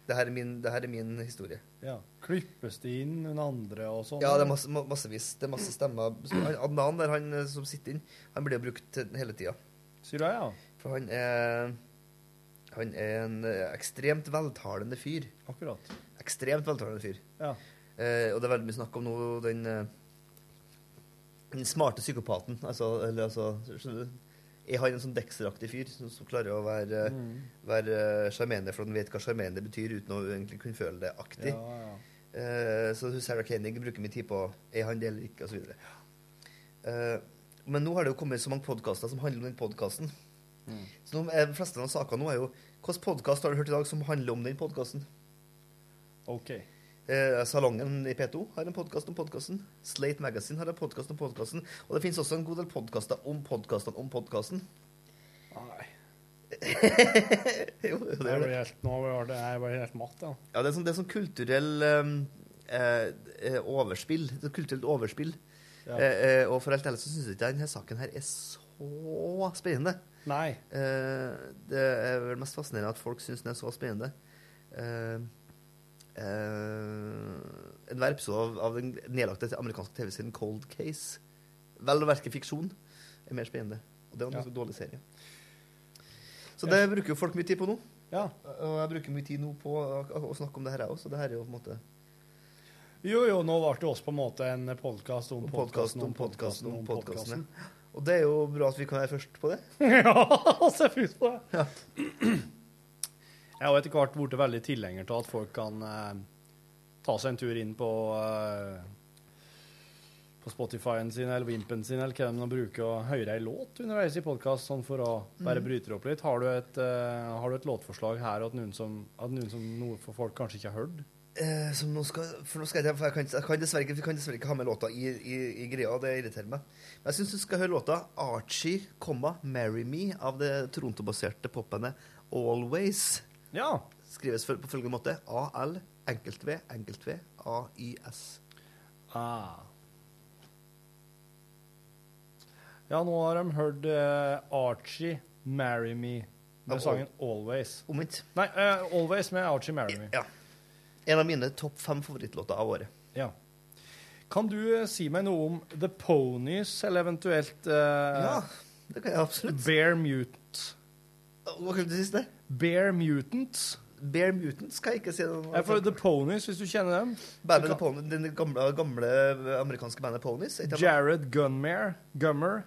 Dette er min, det her er min historie.
ja. Klippes det inn noen andre og sånn?
Ja, det er masse, ma- massevis. Det er masse stemmer. Så han- Adnan der, han eh, som sitter inn, han blir jo brukt til- hele tida.
Sier du ja?
For han er Han er en eh, ekstremt veltalende fyr.
Akkurat.
Ekstremt veltalende fyr.
Ja.
Eh, og det er veldig mye snakk om nå den, eh, den smarte psykopaten. Altså, eller, altså, skjønner du? Er han en sånn Dexter-aktig fyr som, som klarer å være eh,
Mm.
være, eh, sjarmerende for han vet hva sjarmerende betyr, uten å egentlig kunne føle det aktig?
Ja, ja.
Eh, så hun Sarah Koenig bruker mye tid på er han det eller ikke, osv. Uh, men nå har det jo kommet så mange podkaster som handler om den podkasten.
Mm.
Så nå, er de fleste av sakene nå er jo Hvilken podkast har du hørt i dag som handler om den podkasten?
OK.
Eh, Salongen i P2 har en podkast om podkasten. Slate Magazine har en podkast om podkasten. Og det finnes også en god del podkaster om podkastene om podkasten.
Nei.
jo, jo, det
Jeg
er
ble
det.
helt, nå var det, jeg ble helt matt, ja.
Ja, det er sånn, det er sånn kulturell eh, eh, eh, overspill. Det er kulturelt overspill.
Ja.
Eh, eh, og for alt ærlig så syns jeg ikke denne saken her er så spennende.
Nei.
Eh, det er vel mest fascinerende at folk syns den er så spennende. Eh, eh, enhver episode av, av den nedlagte amerikanske TV-serien Cold Case, vel å merke fiksjon, er mer spennende. Og det er en
Ja.
ganske dårlig serie. Så det bruker jo folk mye tid på nå.
Ja.
Og jeg bruker mye tid nå på å, å snakke om det her, jeg òg. Så det her er jo på en måte
Jo, jo, nå ble det også på en måte en podkast om
om
podkasten
podkasten, om podkasten, om podkasten. ja. Og det er jo bra at vi kan være først på det.
Ja, se fint på det. Jeg har etter hvert blitt veldig tilhenger av at folk kan eh, ta seg en tur inn på eh, på Spotify-en sin eller Wimpen sin eller hva de nå bruker, og høre ei låt underveis i podkast, sånn for å bare
Mhm.
bryte det opp litt. Har du et, eh, har du et låtforslag her at noen som, at noen som noe for folk kanskje ikke har hørt?
Eh, som nå skal, for nå skal jeg, for jeg, kan, ikke- jeg, kan dessverre, ikke- jeg kan dessverre ikke ha med låta i, i, i greia, det irriterer meg. Men jeg syns du skal høre låta 'Archie, komma, Marry Me' av det Toronto-baserte popbandet Always.
Ja.
Skrives for, på følgende måte AL, enkelt V, enkelt V, AYS.
Ah. Ja, nå har de hørt eh, Archie 'Marry Me'
Av
med sangen 'Always'.
Omvendt.
Nei, eh, 'Always' med Archie 'Marry Me'.
Ja. En av mine topp fem favorittlåter av året.
Ja. Kan du eh, si meg noe om The Ponies, eller eventuelt
Ja,
eh,
det kan jeg absolutt.
Bear Mutant?
Hva kalte du det siste?
Bear Mutants?
Bear Mutants skal jeg ikke si
Ja, for
noe
The Ponies, hvis du kjenner dem.
Bandet The Pony- Den gamle, gamle amerikanske bandet Ponies. et av-
Jared Gunmare. Gummer.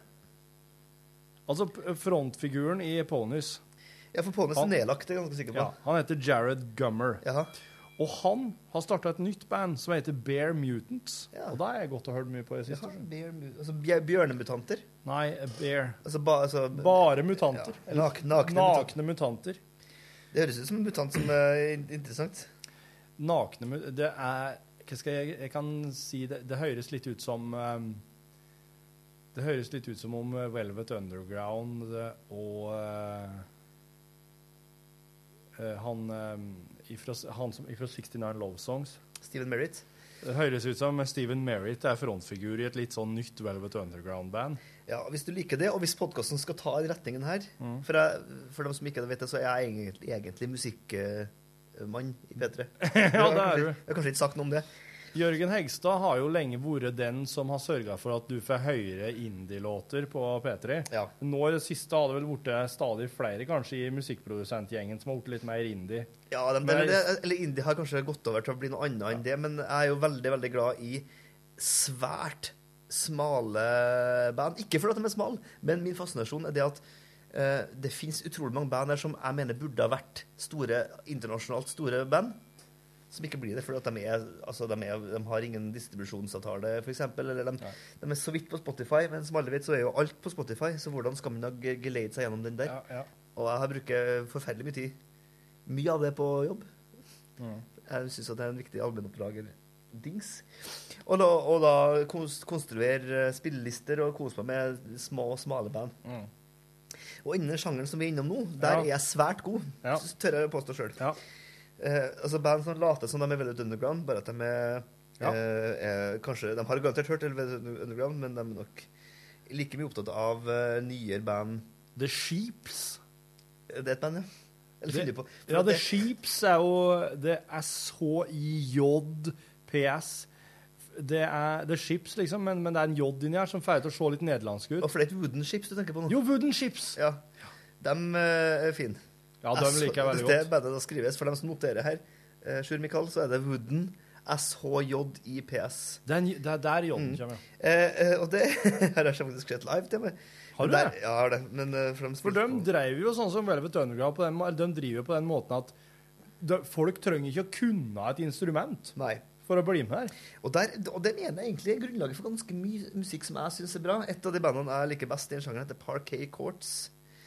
Altså p- frontfiguren i Ponies.
Ja, for Ponies er
Han-
sånn nedlagt, det er jeg ganske sikker på.
Ja, han heter Jared Gummer.
Jaha.
Og han har starta et nytt band som heter Bear Mutants.
Ja.
Og det har jeg gått og hørt mye på i det siste.
Jaha, bear mu- altså, bjør- bjørnemutanter.
Nei, Bear.
Altså, ba, altså,
Bare
ja,
mutanter.
nak, nakne mutanter.
Nakne mutanter.
Det høres ut som en mutant som er in- interessant.
Nakne mu- Det er Hva skal jeg Jeg kan si det Det høres litt ut som ehm, Det høres litt ut som om eh, Velvet Underground eh, og eh, eh, han, eh, ifra, han som, ifra 69 Love Songs.
Steven Merritt.
Det høres ut som Steven Merritt er frontfigur i et litt sånn nytt Velvet Underground-band.
Ja, og Hvis du liker det, og hvis podkasten skal ta den retningen her For, jeg, for dem som ikke vet det, så er jeg egentlig, egentlig musikkmann i P3. ja, det
det er du.
Jeg har kanskje ikke sagt noe om det.
Jørgen Hegstad har jo lenge vært den som har sørga for at du får høre indie-låter på P3.
Ja.
Nå i det siste har det vel blitt stadig flere, kanskje, i musikkprodusentgjengen som har blitt litt mer indie.
Ja, de,
Men-
eller, det- eller Indie har kanskje gått over til å bli noe annet enn det, men jeg er jo veldig, veldig glad i svært smale band. Ikke fordi at de er smale, men min fascinasjon er det at eh, det finnes utrolig mange band her som jeg mener burde ha vært store, internasjonalt store band, som ikke blir det fordi at de, er, altså de, er, de har ingen distribusjonsavtale, f.eks., eller de, de er så vidt på Spotify, men som alle vet, så er jo alt på Spotify, så hvordan skal man da g- geleide seg gjennom den der?
ja.
Og jeg har brukt forferdelig mye tid. Mye av det på jobb.
Mm.
Jeg syns det er en viktig allmennoppdrager. Dings. Og da, og da kons- konstruere eh, spillelister og kose meg med små og smale band. Og innen sjangeren som vi er innom nå,
Mm.
der
Ja.
er jeg svært god.
Ja.
s- Tør jeg å påstå sjøl.
Ja.
Eh, altså Band som later som de er Velvet Underground, bare at de er,
Ja.
eh, er Kanskje De har garantert hørt Velvet Underground, men de er nok like mye opptatt av eh, nyere band. Eh,
The Sheeps.
Det er et band, ja. Eller
Det-
fyller på. For
Ja,
at
The
det-
Sheeps er jo Det er S-H-I-J-P-S. Det er The Ships, liksom, men, men det er en J inni her som får det til å se litt nederlandsk ut.
Og for det er ikke Wooden Ships du tenker på nå?
Jo, Wooden Ships!
Ja. Dem eh, er fine.
Ja,
Altså,
de liker jeg veldig
Det er
godt.
bare det skrives. For dem som noterer her, eh, Sjur Mikael, så er det Wooden SHJIPS.
Det er, en, det er der J-en kommer, ja.
Eh, eh, og det her har jeg faktisk sett live til meg.
Har du
Men der,
det?
Ja, jeg har det. Men eh, for dem
For de drev jo sånn som Velvet Underground på den, må- de driver jo på den måten at de, folk trenger ikke å kunne et instrument
Nei.
for å bli med her.
Og, der, og det mener jeg egentlig er grunnlaget for ganske mye musikk som jeg syns er bra. Et av de bandene jeg liker best i den sjangeren, heter Parquet Courts.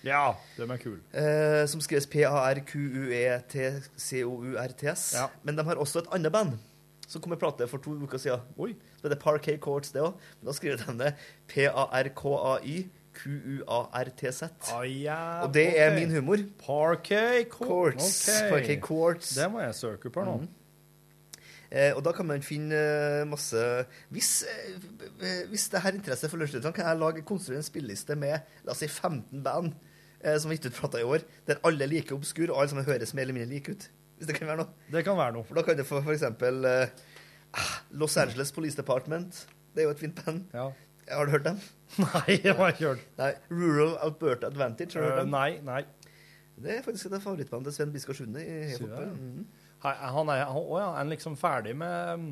Ja, de er kule.
Eh, som skrives E P-A-R-Q-U-E-T-C-O-U-R-T-S.
Ja.
Men de har også et annet band som kom med plate for to uker siden.
Oi.
Så det er Parquet Courts, det òg. Men da skriver de det P-A-R-K-A-Y-Q-U-A-R-T-Z.
Ah, ja,
Og det er
ok.
min humor.
Parquet Court.
Courts.
Ok.
Parquet Courts. Mm.
Det må jeg søke på nå.
Eh, og da kan man finne eh, masse Hvis, eh, b- b- hvis det her er interesse for lunsjlytterne, kan jeg lage konstruere en spilleliste med la oss si 15 band eh, som har gitt ut plater i år, der alle er like obskur, og alle sammen høres mer eller mindre like ut. Hvis det kan være noe.
Det kan være noe.
For da kan du få for eksempel eh, Los Angeles Police Department. Det er jo et fint band.
Ja.
Har du hørt dem?
Nei, det var ikke hørt.
Nei, Rural Alberta Advantage. Har du
Øh,
hørt dem?
Nei, nei.
Det er faktisk et av favorittsbandet til Sven Biskår Sunde. i
Sier Mm. du
hiphop.
det?
Mhm.
Hei, Han er, han, å ja, er han liksom ferdig med um,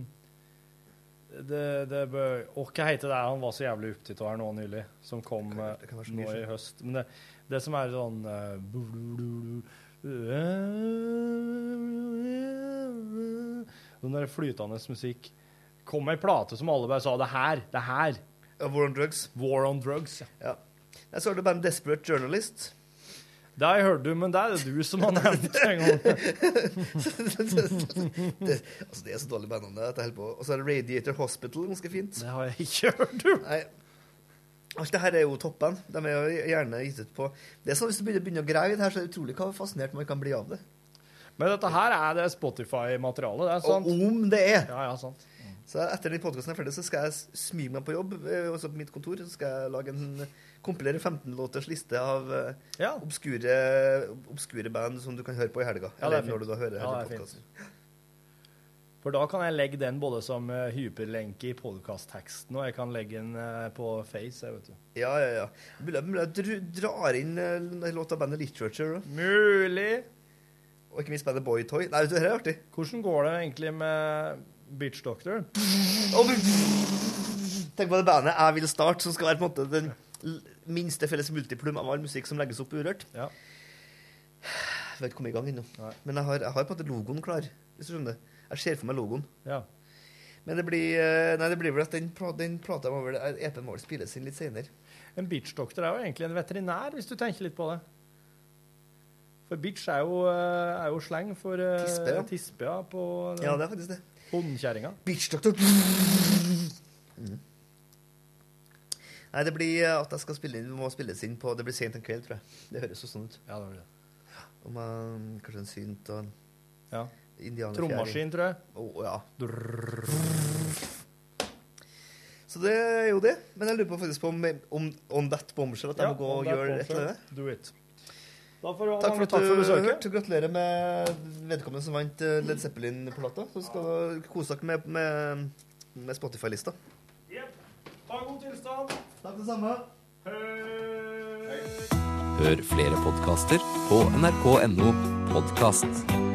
det, det bør, Og hva heter det han var så jævlig opptatt av her nå nylig, som kom
Det kan- det
eh,
kan være så
nå
mye
i høst. Men det, det som er sånn eh, bu- bu- bu- bu- eh, Sånn der flytende musikk. Kom med ei plate som alle bare sa 'det her', 'det her'.
War on drugs.
War on drugs.
Ja. Jeg så hørte bandet Desperate Journalist.
Det har jeg hørt, du, men det er det du som har nevnt en gang.
det, altså, det er så dårlig bandnavn det at jeg holder på. Og så er det Radiator Hospital, ganske fint.
Det har jeg ikke hørt, du.
Nei. Alt det her er jo toppband. De er jo gjerne gitt ut på Det er sånn Hvis du begynner, begynner å grave i det her, så er det utrolig hva fascinert man kan bli av det.
Men dette her er det Spotify-materialet, det er
Og
sant?
om det er!
Ja, ja, sant.
Så etter den podkasten er ferdig, så skal jeg s- smyge meg på jobb, eh, også på mitt kontor, så skal jeg lage en kompilere 15-låters liste av eh,
Ja.
obskure, obskure band som du kan høre på i helga.
Ja, det er
Eller når
fint.
du da hører
Ja,
hele
det er fint.
podcasten.
For da kan jeg legge den både som eh, hyperlenke i podkastteksten, og jeg kan legge den eh, på Face, jeg, vet du.
Ja, ja, ja. Mulig mulig jeg dr- drar inn eh, en låt av bandet Literature, da.
Mulig.
og ikke minst bandet Boy Toy. Nei, vet du, dette er artig.
Hvordan går det egentlig med Bitch Doctor?
Og Tenk på det bandet Jeg vil starte, som skal være på en måte den l- minste felles multiplum av all musikk som legges opp urørt.
Ja.
Jeg vet ikke kommet i gang ennå.
Nei.
Men jeg har, jeg har på en måte logoen klar. Hvis du skjønner. Jeg ser for meg logoen.
Ja.
Men det blir, eh, nei, det blir vel at den, pla- den plata må vel eh, EP-en må vel spilles inn litt seinere.
En bitch doctor er jo egentlig en veterinær, hvis du tenker litt på det. For bitch er jo, eh, er jo slang for eh,
Tispe, ja.
tispe, ja, på den
Ja, det er faktisk det.
hundekjerringa.
Bitch Doctor. Mm. Nei, det blir eh, at jeg skal spille inn, må spilles inn på Det blir sent en kveld, tror jeg. Det høres jo sånn ut.
Ja, det var det.
Om eh, kanskje en synt og en
Ja.
indianerfjær.
Trommaskin, tror jeg.
Å, ja. Så det er jo det. Men jeg lurer på faktisk på om, om on that bombshell at jeg må gå og gjøre et eller annet.
Do it. Da får du ha
Takk for
mange
at
takk
du
for
har
besøket.
hørt. Gratulerer med vedkommende som vant eh, Led Zeppelin-plata. Så skal du kose dere med, med, med Spotify-lista.
Ha god tilstand.
Takk det samme.
Hør flere podkaster på nrk.no podkast.